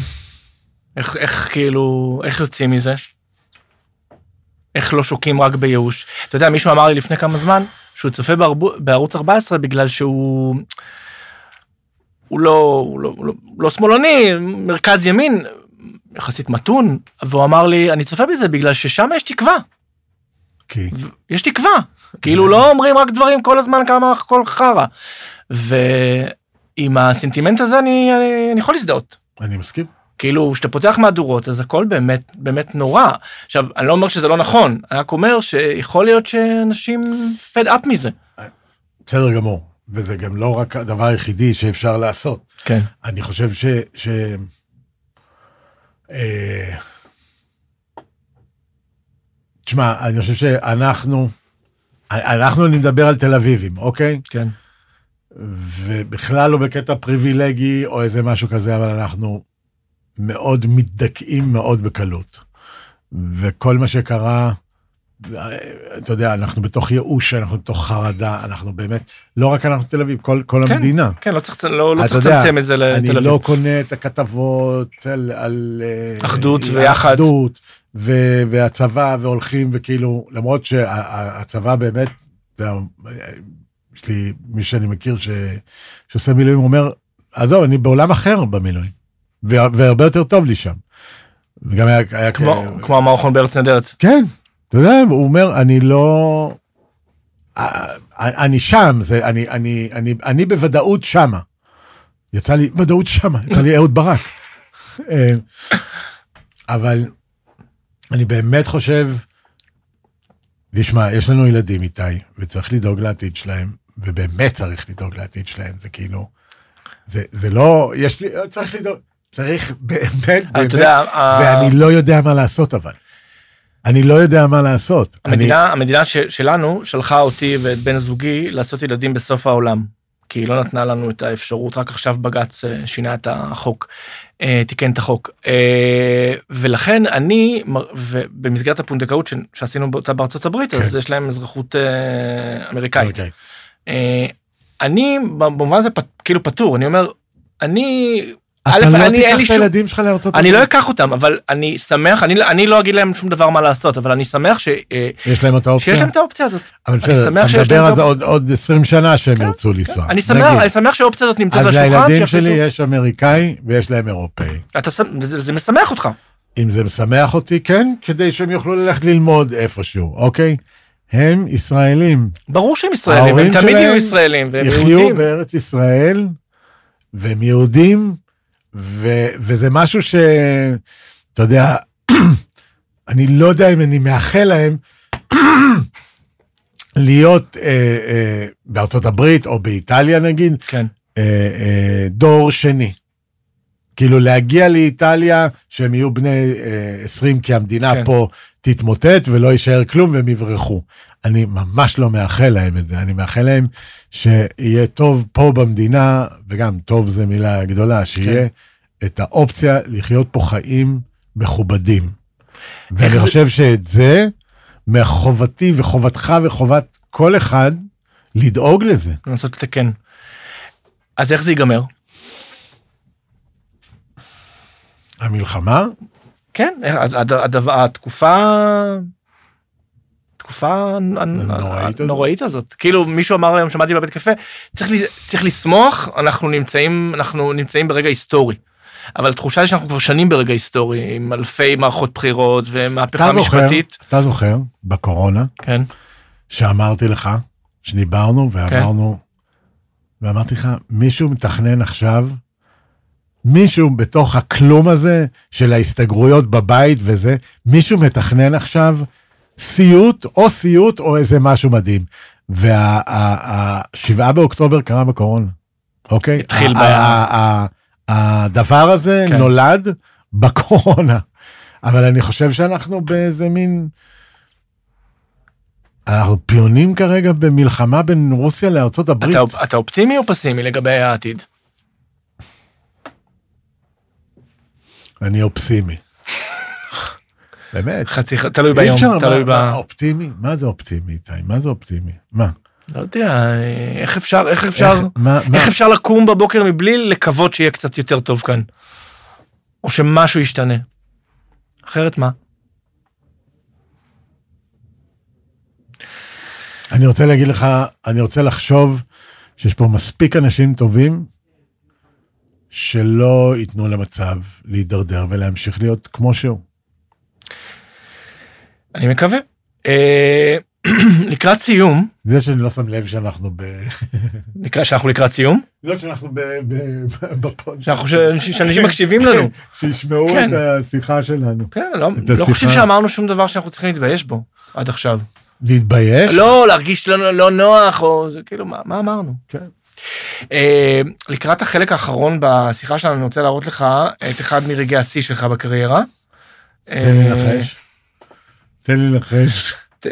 A: איך, איך כאילו, איך יוצאים מזה? איך לא שוקים רק בייאוש? אתה יודע, מישהו אמר לי לפני כמה זמן שהוא צופה בערב- בערוץ 14 בגלל שהוא... הוא לא, הוא לא, הוא לא, הוא לא שמאלני, מרכז ימין, יחסית מתון, והוא אמר לי, אני צופה בזה בגלל ששם יש תקווה.
B: כי
A: יש תקווה. כאילו לא אומרים רק דברים כל הזמן כמה הכל חרא. ועם הסנטימנט הזה אני, אני, אני יכול להזדהות.
B: אני מסכים.
A: כאילו כשאתה פותח מהדורות אז הכל באמת באמת נורא. עכשיו אני לא אומר שזה לא נכון, אני רק אומר שיכול להיות שאנשים fed up מזה.
B: בסדר גמור. וזה גם לא רק הדבר היחידי שאפשר לעשות.
A: כן.
B: אני חושב ש... ש... אה, תשמע, אני חושב שאנחנו, אנחנו, אני מדבר על תל אביבים, אוקיי?
A: כן.
B: ובכלל לא בקטע פריבילגי או איזה משהו כזה, אבל אנחנו מאוד מתדכאים מאוד בקלות. וכל מה שקרה, אה, אתה יודע, אנחנו בתוך ייאוש, אנחנו בתוך חרדה, אנחנו באמת, לא רק אנחנו תל אביב, כל, כל
A: כן.
B: המדינה.
A: כן, לא צריך, לא, לא
B: אתה
A: צריך
B: יודע,
A: לצמצם את זה לתל אביב.
B: אני לא קונה את הכתבות על... על אה,
A: אחדות
B: על
A: ויחד.
B: אחדות, ו- והצבא, והולכים, וכאילו, למרות שהצבא באמת, אתה יודע, יש לי מי שאני מכיר ש- שעושה מילואים, הוא אומר, עזוב, אני בעולם אחר במילואים, וה- והרבה יותר טוב לי שם. וגם היה... היה
A: כמו,
B: כ-
A: כמו המערכון בארץ נהדרת.
B: כן, אתה יודע, הוא אומר, אני לא... אה, אני שם, זה, אני, אני, אני, אני בוודאות שמה. יצא לי, ודאות שמה, יצא לי אהוד ברק. אה, אבל אני באמת חושב, תשמע, יש לנו ילדים איתי, וצריך לדאוג לעתיד שלהם, ובאמת צריך לדאוג לעתיד שלהם, זה כאילו, זה, זה לא, יש לי, צריך לדאוג, צריך באמת,
A: אבל
B: באמת,
A: אתה יודע, ה-
B: ואני לא יודע מה לעשות אבל. אני לא יודע מה לעשות.
A: המדינה, אני... המדינה ש, שלנו שלחה אותי ואת בן זוגי לעשות ילדים בסוף העולם. כי היא לא נתנה לנו את האפשרות, רק עכשיו בג"ץ אה, שינה את החוק, אה, תיקן את החוק. אה, ולכן אני, מ- ובמסגרת הפונדקאות ש- שעשינו אותה בארצות הברית, אז
B: כן.
A: יש להם אזרחות אה,
B: אני...
A: אמריקאית.
B: אוקיי.
A: אה, אני במובן הזה פ- כאילו פטור אני אומר אני
B: אתה
A: א',
B: לא
A: אני- אין לי
B: תיקח את
A: שום-
B: הילדים שלך לארצות
A: אני לא אקח אותם, אבל אני שמח, אני, אני לא אגיד להם שום דבר מה לעשות, אבל אני שמח ש, אה,
B: יש להם את האופציה?
A: שיש להם את האופציה הזאת.
B: אבל
A: אני
B: בסדר,
A: שמח
B: אתה
A: שיש
B: מדבר
A: להם
B: על זה
A: גם-
B: עוד- עוד 20 שנה שהם ירצו לנסוע.
A: אני שמח,
B: אה, נגיד.
A: אני שמח שהאופציה הזאת נמצאת על
B: אז
A: השולחן.
B: לילדים
A: שיחליטו-
B: שלי יש אמריקאי ויש להם אירופאי.
A: אתה שמ- זה זה משמח אותך.
B: אם זה משמח אותי, כן, כדי שהם יוכלו ללכת ללמוד איפשהו, אוקיי? הם ישראלים.
A: ברור שהם ישראלים,
B: ההורים
A: הם תמיד
B: שלהם
A: יהיו ישראלים, והם
B: יחיו
A: יהודים.
B: בארץ ישראל, והם יהודים, ו- וזה משהו ש... אתה יודע, <clears throat> אני לא יודע אם אני מאחל להם <clears throat> להיות אה, אה, בארצות הברית או באיטליה נגיד,
A: כן.
B: אה, אה, דור שני. כאילו להגיע לאיטליה שהם יהיו בני אה, 20 כי המדינה
A: כן.
B: פה תתמוטט ולא יישאר כלום והם יברחו. אני ממש לא מאחל להם את זה, אני מאחל להם שיהיה טוב פה במדינה, וגם טוב זו מילה גדולה, שיהיה
A: כן.
B: את האופציה לחיות פה חיים מכובדים. ואני
A: זה-
B: חושב שאת זה, מחובתי וחובתך וחובת כל אחד, לדאוג לזה.
A: לנסות לתקן. אז איך זה ייגמר?
B: המלחמה
A: כן, הד- הד- הדבר- התקופה... התקופה הנ-
B: הנוראית הזאת.
A: הנוראית הזאת. כאילו מישהו אמר היום, שמעתי בבית קפה, צריך לז- צריך לשמוח, אנחנו נמצאים אנחנו נמצאים ברגע היסטורי. אבל התחושה היא שאנחנו כבר שנים ברגע היסטורי, עם אלפי מערכות בחירות ומהפכה
B: אתה זוכר,
A: משפטית.
B: אתה זוכר, בקורונה,
A: כן,
B: שאמרתי לך, שדיברנו ואמרנו,
A: כן.
B: ואמרתי לך, מישהו מתכנן עכשיו, מישהו בתוך הכלום הזה של ההסתגרויות בבית וזה, מישהו מתכנן עכשיו סיוט או סיוט או איזה משהו מדהים. והשבעה באוקטובר קרה בקורונה, אוקיי?
A: התחיל ב-
B: ה- ה- ה- הדבר הזה
A: כן.
B: נולד בקורונה. אבל אני חושב שאנחנו באיזה מין... אנחנו פיונים כרגע במלחמה בין רוסיה לארצות הברית.
A: אתה, אתה אופטימי או פסימי לגבי העתיד?
B: אני אופסימי. באמת.
A: חצי, ח- תלוי
B: אי
A: ביום,
B: אפשר,
A: תלוי
B: מה-
A: ב...
B: מה אופטימי? מה זה אופטימי, איתי? מה זה אופטימי? מה?
A: לא יודע, איך אפשר, איך אפשר,
B: איך- מה- מה?
A: איך אפשר לקום בבוקר מבלי לקוות שיהיה קצת יותר טוב כאן? או שמשהו ישתנה. אחרת מה?
B: אני רוצה להגיד לך, אני רוצה לחשוב שיש פה מספיק אנשים טובים שלא ייתנו למצב להידרדר ולהמשיך להיות כמו שהוא.
A: אני מקווה. אה, <clears throat> לקראת סיום,
B: זה שאני לא שם לב שאנחנו ב...
A: לקראת, שאנחנו לקראת סיום,
B: לא שאנחנו ב- ב- בפוד.
A: שאנחנו, ש, ש- שאנשים מקשיבים <laughs> לנו.
B: <laughs> שישמעו
A: כן.
B: את השיחה שלנו.
A: כן, לא,
B: את
A: לא
B: השיחה.
A: חושב שאמרנו שום דבר שאנחנו צריכים להתבייש בו עד עכשיו.
B: להתבייש?
A: לא, להרגיש לא, לא נוח, או זה כאילו, מה, מה אמרנו?
B: כן.
A: אה, לקראת החלק האחרון בשיחה שלנו, אני רוצה להראות לך את אחד מרגעי השיא שלך בקריירה.
B: תן לי
A: אה,
B: לנחש. תן לי
A: <laughs>
B: לנחש.
A: ת-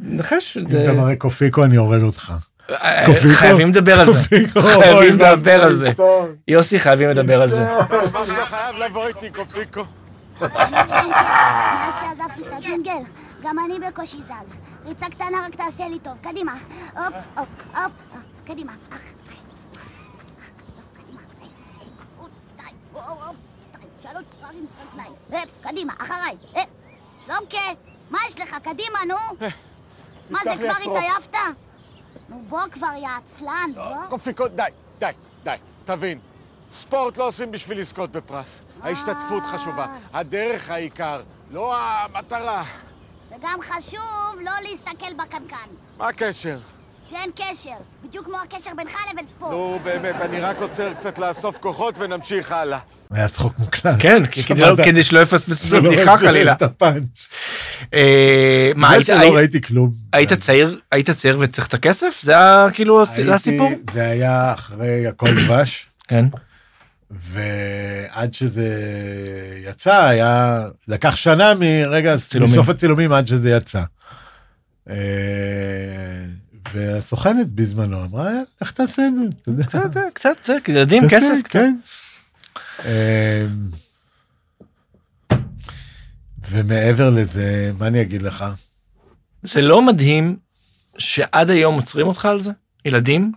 A: נחש.
B: אם אתה מראה קופיקו, אני הורג
A: <laughs>
B: אותך.
A: אה,
B: קופיקו?
A: חייבים לדבר על זה.
B: קופיקו,
A: חייבים
B: אוי,
A: לדבר על זה.
B: טוב.
A: יוסי, חייבים לדבר על זה.
D: אתה חייב לבוא איתי, קופיקו.
G: מאז שעזבתי את הג'ינגל, גם אני בקושי זז. ריצה קטנה רק תעשה לי טוב. קדימה. הופ, הופ, הופ, הופ. קדימה. אך, היי. קדימה. היי, היי. עוד, די. הופ, הופ, שתיים, שלוש פעמים רגליים. הופ, קדימה, אחריי. הופ. שלומקה, מה יש לך? קדימה, נו. מה זה,
D: תפתח לי עשרות.
G: כבר התעייפת? נו, בוא כבר, יא עצלן, בוא.
D: קופיקו, די, די, די. תבין, ספורט לא עושים בשביל לזכות בפרס. ההשתתפות חשובה, הדרך העיקר, לא המטרה.
G: וגם חשוב לא להסתכל בקנקן.
D: מה הקשר?
G: שאין קשר. בדיוק כמו הקשר בינך לבין ספורט.
D: נו, באמת, אני רק עוצר קצת לאסוף כוחות ונמשיך הלאה.
B: היה צחוק מוקלט.
A: כן, כי- כדי
B: שמעת?
A: לא- כדי שלא יפספסו את
B: שלא
A: הבדיחה
B: ראיתי
A: חלילה.
B: את הפאנץ'.
A: אה, מה,
B: בגלל
A: היית-
B: שלא
A: היית-
B: ראיתי כלום.
A: היית צעיר, היית צעיר וצריך את הכסף? זה היה כאילו הס-
B: הייתי-
A: זה הסיפור?
B: זה היה אחרי הכל <coughs> דבש,
A: כן.
B: ועד שזה יצא, היה... לקח שנה מרגע,
A: צילומים.
B: מסוף הצילומים עד שזה יצא. אה, והסוכנת בזמנו אמרה, איך תעשה את זה? אתה יודע. <laughs>
A: קצת, אה, קצת, זה, כאילו, ילדים,
B: תעשה,
A: כסף, קצת.
B: כן. אמ, ומעבר לזה, מה אני אגיד לך?
A: זה לא מדהים שעד היום עוצרים אותך על זה? ילדים?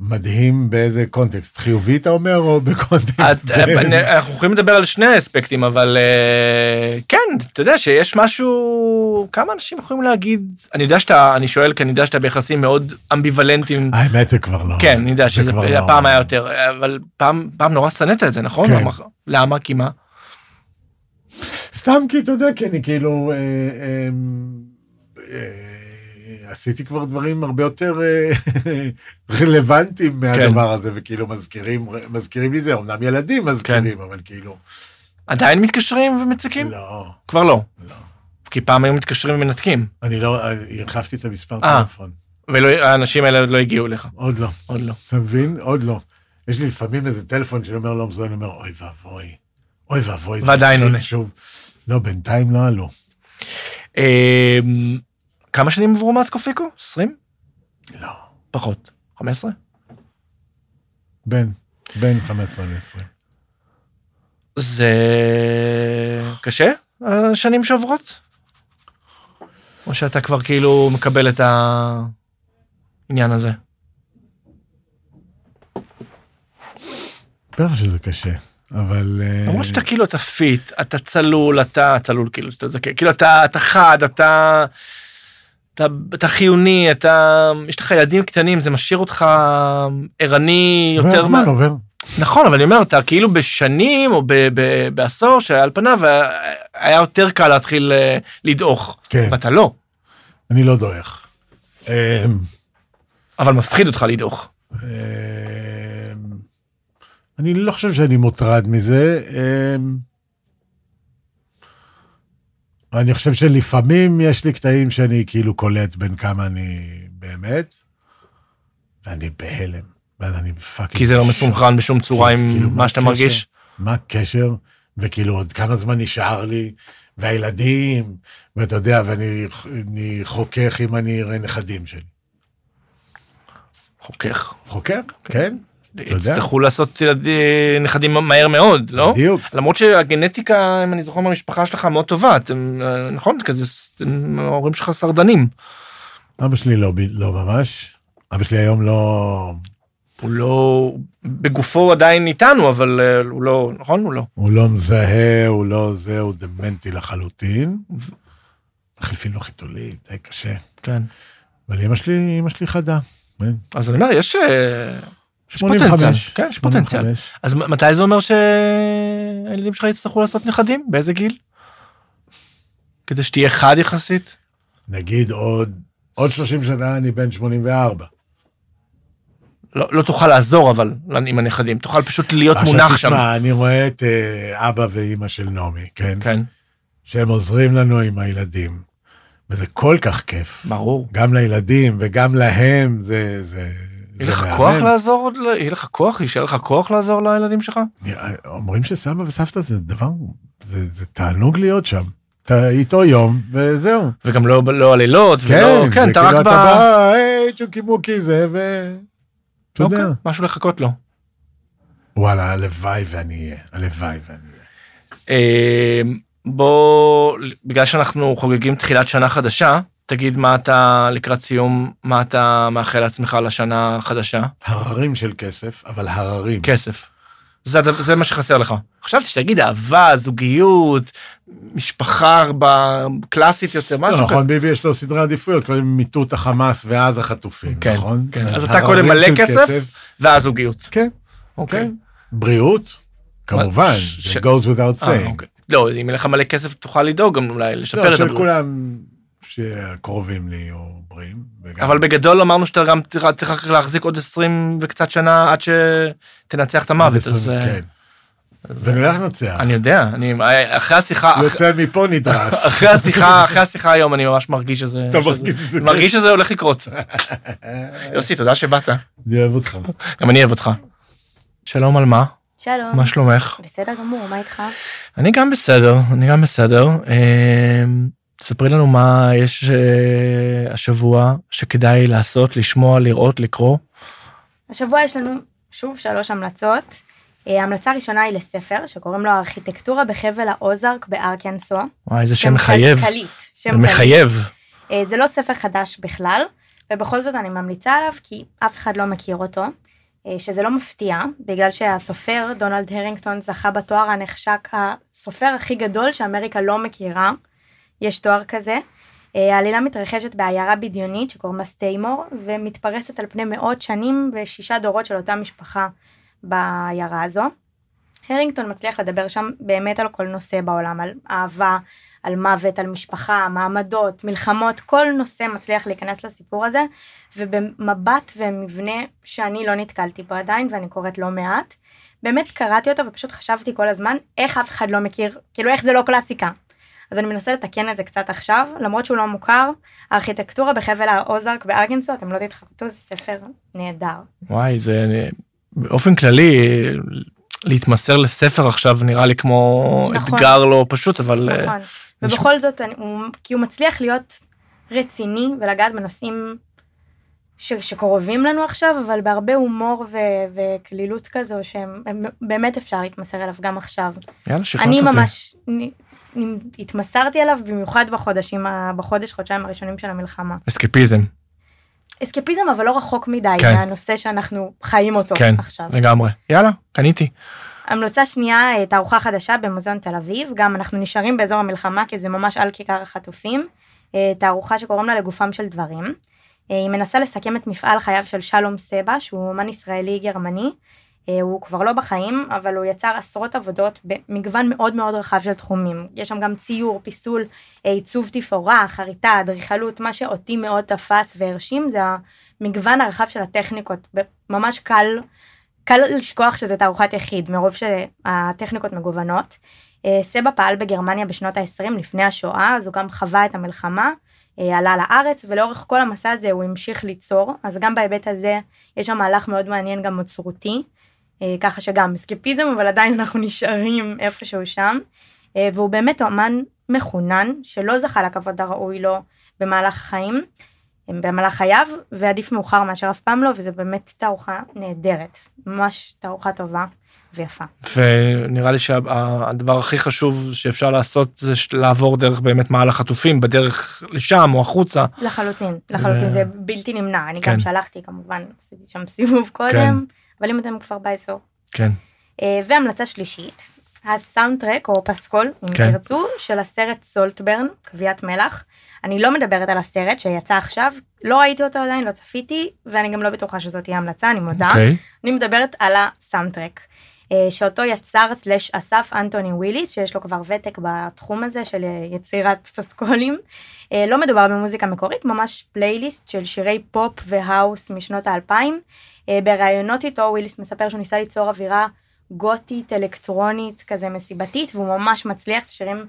B: מדהים באיזה קונטקסט, חיובי אתה אומר או בקונטקסט?
A: את-
B: כן. <laughs>
A: אנחנו יכולים לדבר על שני האספקטים, אבל אה, כן, אתה יודע שיש משהו, כמה אנשים יכולים להגיד, אני יודע שאתה, אני שואל כי אני יודע שאתה ביחסים מאוד אמביוולנטיים.
B: האמת זה כבר לא.
A: כן, אני יודע שזה
B: כבר לא.
A: פעם היה יותר, אבל פעם פעם נורא שנאת את זה, נכון?
B: כן.
A: למה? כי מה?
B: סתם כי אתה יודע, כי אני כאילו... אה, אה, אה, עשיתי כבר דברים הרבה יותר אה, <laughs> רלוונטיים
A: כן.
B: מהדבר הזה, וכאילו מזכירים מזכירים לי זה, אמנם ילדים
A: כן.
B: מזכירים, אבל כאילו,
A: עדיין מתקשרים ומציקים?
B: לא,
A: כבר לא.
B: לא.
A: כי פעם היו מתקשרים ומנתקים,
B: אני לא, אני- החלפתי את המספר
A: אה.
B: טלפון,
A: והאנשים האלה עוד לא הגיעו אליך,
B: עוד לא,
A: עוד לא.
B: אתה מבין? עוד לא. יש לי לפעמים איזה טלפון שאני אומר לא מזוהה, אני אומר, אוי ואבוי, אוי ואבוי. זה
A: ועדיין
B: התחיל
A: עונה.
B: שוב. לא, בינתיים לא עלו.
A: אה, כמה שנים עברו מאז קופיקו? 20?
B: לא.
A: פחות. 15?
B: בין, בין 15 ל-20.
A: זה קשה השנים שעוברות? או שאתה כבר כאילו מקבל את העניין הזה?
B: בטח שזה קשה, אבל... אה,
A: למרות שאתה כאילו אתה פיט, אתה צלול, אתה צלול כאילו, אתה זקן, כאילו אתה, אתה חד, אתה, אתה, אתה חיוני, אתה, יש לך ילדים קטנים, זה משאיר אותך ערני
B: עובר
A: יותר
B: הזמן
A: מה...
B: עובר.
A: נכון, אבל אני אומר, אתה כאילו בשנים או ב, ב, בעשור שעל פניו אה, היה יותר קל להתחיל אה, לדעוך,
B: כן.
A: ואתה לא,
B: אני לא דועך. אמ,
A: אבל מפחיד אותך לדעוך.
B: אמ, אני לא חושב שאני מוטרד מזה. אמ, אני חושב שלפעמים יש לי קטעים שאני כאילו קולט בין כמה אני באמת, ואני בהלם, ואז אני פאקינג...
A: כי זה לא
B: שוק.
A: מסונכרן בשום צורה
B: כי כן. זה כאילו,
A: עם מה שאתה
B: הקשר?
A: מרגיש.
B: מה הקשר? וכאילו עוד כמה זמן נשאר לי, והילדים, ואתה יודע, ואני אני חוכך אם אני אראה נכדים שלי.
A: חוכך.
B: חוכך?
A: לא?
B: כן? יודע.
A: יצטרכו לעשות ילדי- נכדים מהר מאוד, לא?
B: בדיוק.
A: למרות שהגנטיקה, אם אני זוכר מהמשפחה שלך, מאוד טובה, אתם, אה, נכון? כזה, ס- אתם- ההורים שלך סרדנים.
B: אבא שלי לא, ב- לא ממש. אבא שלי היום לא...
A: הוא לא, בגופו עדיין איתנו, אבל אה, הוא לא, נכון? הוא לא.
B: הוא לא מזהה, הוא לא זה, הוא דמנטי לחלוטין. מחליפים לו חיתולים, די קשה.
A: כן.
B: אבל אמא שלי, אמא שלי חדה. כן?
A: אז אני אומר, יש... אה, יש
B: 85.
A: פוטנציאל. כן, יש פוטנציאל.
B: 85.
A: אז מ- מתי זה אומר שהילדים שלך יצטרכו לעשות נכדים? באיזה גיל? כדי שתהיה חד יחסית?
B: נגיד עוד, עוד 30 שנה אני בן 84.
A: לא, לא תוכל לעזור אבל עם הנכדים, תוכל פשוט להיות מונח
B: עכשיו
A: שם.
B: תשמע, אני רואה את אה, אבא ואימא של נעמי, כן?
A: כן,
B: שהם עוזרים לנו עם הילדים, וזה כל כך כיף.
A: ברור.
B: גם לילדים וגם להם, זה... זה
A: יהיה
B: זה
A: לך
B: מהמם.
A: כוח לעזור, עוד ל- יהיה לך כוח, יישאר לך כוח לעזור לילדים שלך?
B: נראה- אומרים שסבא וסבתא זה דבר, זה, זה תענוג להיות שם. אתה איתו יום, וזהו.
A: וגם לא, לא הלילות, ולא, כן,
B: זה
A: אתה
B: כאילו
A: רק ב...
B: אתה בא, היי, צ'וקי מוקי זה, ו... אתה
A: אוקיי,
B: יודע.
A: משהו לחכות לו.
B: וואלה, הלוואי ואני אהיה, הלוואי ואני אהיה.
A: אה, בוא, בגלל שאנחנו חוגגים תחילת שנה חדשה, תגיד מה אתה, לקראת סיום, מה אתה מאחל לעצמך לשנה החדשה?
B: הררים של כסף, אבל הררים.
A: כסף. זה, הדבר- זה מה שחסר לך. חשבתי שתגיד אהבה, זוגיות, משפחה ב- קלאסית יותר, משהו
B: לא,
A: כזה.
B: נכון, ביבי יש לו סדרי עדיפויות, קודם מיטוט החמאס ואז החטופים,
A: כן,
B: נכון?
A: כן. אז אתה
B: הררים
A: קודם מלא
B: של
A: כסף? והזוגיות.
B: כן,
A: אוקיי.
B: כן. בריאות, כמובן,
A: ש-
B: זה goes without
A: אה,
B: saying.
A: אוקיי. לא, אם אין לך מלא כסף תוכל לדאוג גם אולי לשפר
B: לא,
A: את
B: של
A: הבריאות.
B: כולם שקרובים לי או בריאים. וגם-
A: אבל בגדול אמרנו שאתה גם צריך- צריך רק להחזיק עוד 20 וקצת שנה עד שתנצח את המוות, אז אה,
B: כן. ונלך לנצח.
A: אני יודע, אני אחרי השיחה, אח-
B: יוצא מפה נדרס.
A: אחרי השיחה, אחרי השיחה היום אני ממש מרגיש שזה,
B: אתה
A: שזה-
B: מרגיש את זה, כן.
A: מרגיש שזה הולך לקרות. יוסי, תודה שבאת,
B: אני אוהב אותך.
A: גם אני אוהב אותך. שלום על מה?
H: שלום.
A: מה שלומך?
H: בסדר גמור, מה איתך?
A: אני גם בסדר, אני גם בסדר. אמ, ספרי לנו מה יש אה, השבוע שכדאי לעשות, לשמוע, לראות, לקרוא.
H: השבוע יש לנו שוב שלוש המלצות. אה, המלצה ראשונה היא לספר שקוראים לו ארכיטקטורה בחבל האוזארק בארקנסו.
A: וואי, איזה שם מחייב.
H: כלכלית. שם
A: זה מחייב.
H: כלכלית. אה, זה לא ספר חדש בכלל, ובכל זאת אני ממליצה עליו כי אף אחד לא מכיר אותו. אה, שזה לא מפתיע, בגלל שהסופר דונלד הרינגטון זכה בתואר הנחשק הסופר הכי גדול שאמריקה לא מכירה, יש תואר כזה. אה, העלילה מתרחשת בעיירה בדיונית שקוראים לה סטיימור, ומתפרסת על פני מאות שנים ושישה דורות של אותה משפחה בעיירה הזו. הרינגטון מצליח לדבר שם באמת על כל נושא בעולם, על אהבה, על מוות, על משפחה, מעמדות, מלחמות, כל נושא מצליח להיכנס לסיפור הזה, ובמבט ומבנה שאני לא נתקלתי בו עדיין, ואני קוראת לא מעט, באמת קראתי אותו ופשוט חשבתי כל הזמן איך אף אחד לא מכיר, כאילו איך זה לא קלאסיקה. אז אני מנסה לתקן את זה קצת עכשיו, למרות שהוא לא מוכר, הארכיטקטורה בחבל האוזרק בארגנסו, אתם לא תתחרטו, זה ספר נהדר.
A: וואי, זה... באופן כללי, להתמסר לספר עכשיו נראה לי כמו
H: נכון.
A: אתגר לא פשוט, אבל... אה,
H: נכון.
A: נשמע-
H: ובכל זאת, אני, הוא, כי הוא מצליח להיות רציני ולגעת בנושאים ש, שקרובים לנו עכשיו, אבל בהרבה הומור ו, וקלילות כזו, שבאמת אפשר להתמסר אליו גם עכשיו.
A: יאללה, שחררת
H: אני
A: אותי.
H: ממש נ, נ, התמסרתי אליו במיוחד בחודשים, ה- בחודש, חודשיים הראשונים של המלחמה.
A: אסקפיזם,
H: אסקפיזם אבל לא רחוק מדי
A: כן.
H: מהנושא שאנחנו חיים אותו
A: כן,
H: עכשיו.
A: לגמרי. יאללה, קניתי.
H: המלצה שנייה, אה, תערוכה חדשה במוזיאון תל אביב, גם אנחנו נשארים באזור המלחמה כי זה ממש על כיכר החטופים, אה, תערוכה שקוראים לה לגופם של דברים. אה, היא מנסה לסכם את מפעל חייו של שלום סבא, שהוא אומן ישראלי גרמני, אה, הוא כבר לא בחיים, אבל הוא יצר עשרות עבודות במגוון מאוד מאוד רחב של תחומים. יש שם גם ציור, פיסול, אה, עיצוב תפאורה, חריטה, אדריכלות, מה שאותי מאוד תפס והרשים זה המגוון הרחב של הטכניקות, ב- ממש קל קל לשכוח שזה תערוכת יחיד מרוב שהטכניקות מגוונות. אה, סבא פעל בגרמניה בשנות ה-20 לפני השואה, אז הוא גם חווה את המלחמה, אה, עלה לארץ ולאורך כל המסע הזה הוא המשיך ליצור, אז גם בהיבט הזה יש שם מהלך מאוד מעניין גם אוצרותי, אה, ככה שגם אסקפיזם אבל עדיין אנחנו נשארים איפשהו שם, אה, והוא באמת אומן מחונן שלא זכה לכבוד הראוי לו במהלך החיים. במהלך חייו, ועדיף מאוחר מאשר אף פעם לא, וזה באמת תערוכה נהדרת, ממש תערוכה טובה ויפה.
A: ונראה לי שהדבר הכי חשוב שאפשר לעשות זה ש- לעבור דרך באמת מעל החטופים, בדרך לשם או החוצה.
H: לחלוטין, לחלוטין,
A: ו-
H: זה בלתי נמנע, אני
A: כן.
H: גם שלחתי כמובן, עשיתי שם סיבוב קודם, אבל אם אתם כבר באזור.
A: כן.
H: אה, והמלצה שלישית, הסאונדטרק או פסקול, אם
A: כן.
H: תרצו, של הסרט סולטברן, קביעת מלח. אני לא מדברת על הסרט שיצא עכשיו, לא ראיתי אותו עדיין, לא צפיתי, ואני גם לא בטוחה שזאת תהיה המלצה, אני מודה.
A: אוקיי.
H: אני מדברת על הסאונדטרק, אה, שאותו יצר סלש אסף אנטוני וויליס, שיש לו כבר ותק בתחום הזה של אה, יצירת פסקולים. אה, לא מדובר במוזיקה מקורית, ממש פלייליסט של שירי פופ והאוס משנות האלפיים. אה, בראיונות איתו וויליס מספר שהוא ניסה ליצור אווירה גותית, אלקטרונית, כזה מסיבתית, והוא ממש מצליח, זה שירים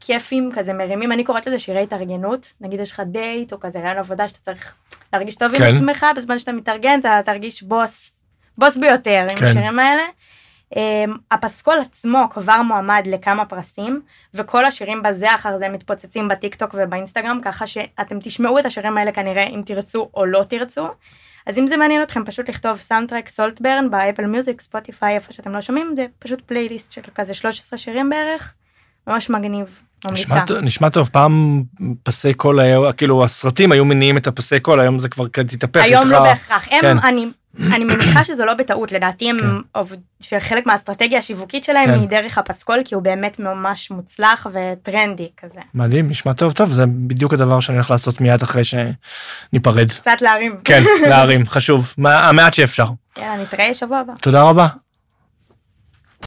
H: כיפים, כזה מרימים, אני קוראת לזה שירי התארגנות, נגיד יש לך דייט, או כזה רעיון עבודה שאתה צריך להרגיש טוב
A: כן.
H: עם עצמך, בזמן שאתה מתארגן אתה תרגיש בוס בוס ביותר עם
A: כן.
H: השירים האלה. אמ, הפסקול עצמו כבר מועמד לכמה פרסים וכל השירים בזה אחר זה מתפוצצים בטיקטוק ובאינסטגרם ככה שאתם תשמעו את השירים האלה כנראה אם תרצו או לא תרצו. אז אם זה מעניין אתכם פשוט לכתוב סאונדטרק סולטברן באפל מיוזיק ספוטיפיי איפה שאתם לא שומעים זה פשוט פלייליסט של כזה 13 שירים בערך. ממש מגניב. ממליצה.
A: נשמע, ט- נשמע טוב, פעם פסי קול היה, כאילו הסרטים היו מניעים את הפסי קול, היום זה כבר כזה התהפך. יש
H: היום
A: לך-
H: לא בהכרח. הם,
A: כן.
H: אני, אני מניחה שזה לא בטעות, לדעתי הם, עובד- שחלק מהאסטרטגיה השיווקית שלהם
A: כן.
H: היא דרך הפסקול, כי הוא באמת ממש מוצלח וטרנדי כזה.
A: מדהים, נשמע טוב, טוב, זה בדיוק הדבר שאני הולך לעשות מיד אחרי שניפרד.
H: קצת להרים.
A: <laughs> כן, להרים, חשוב, מה- המעט שאפשר.
H: יאללה, נתראה שבוע הבא.
A: תודה רבה.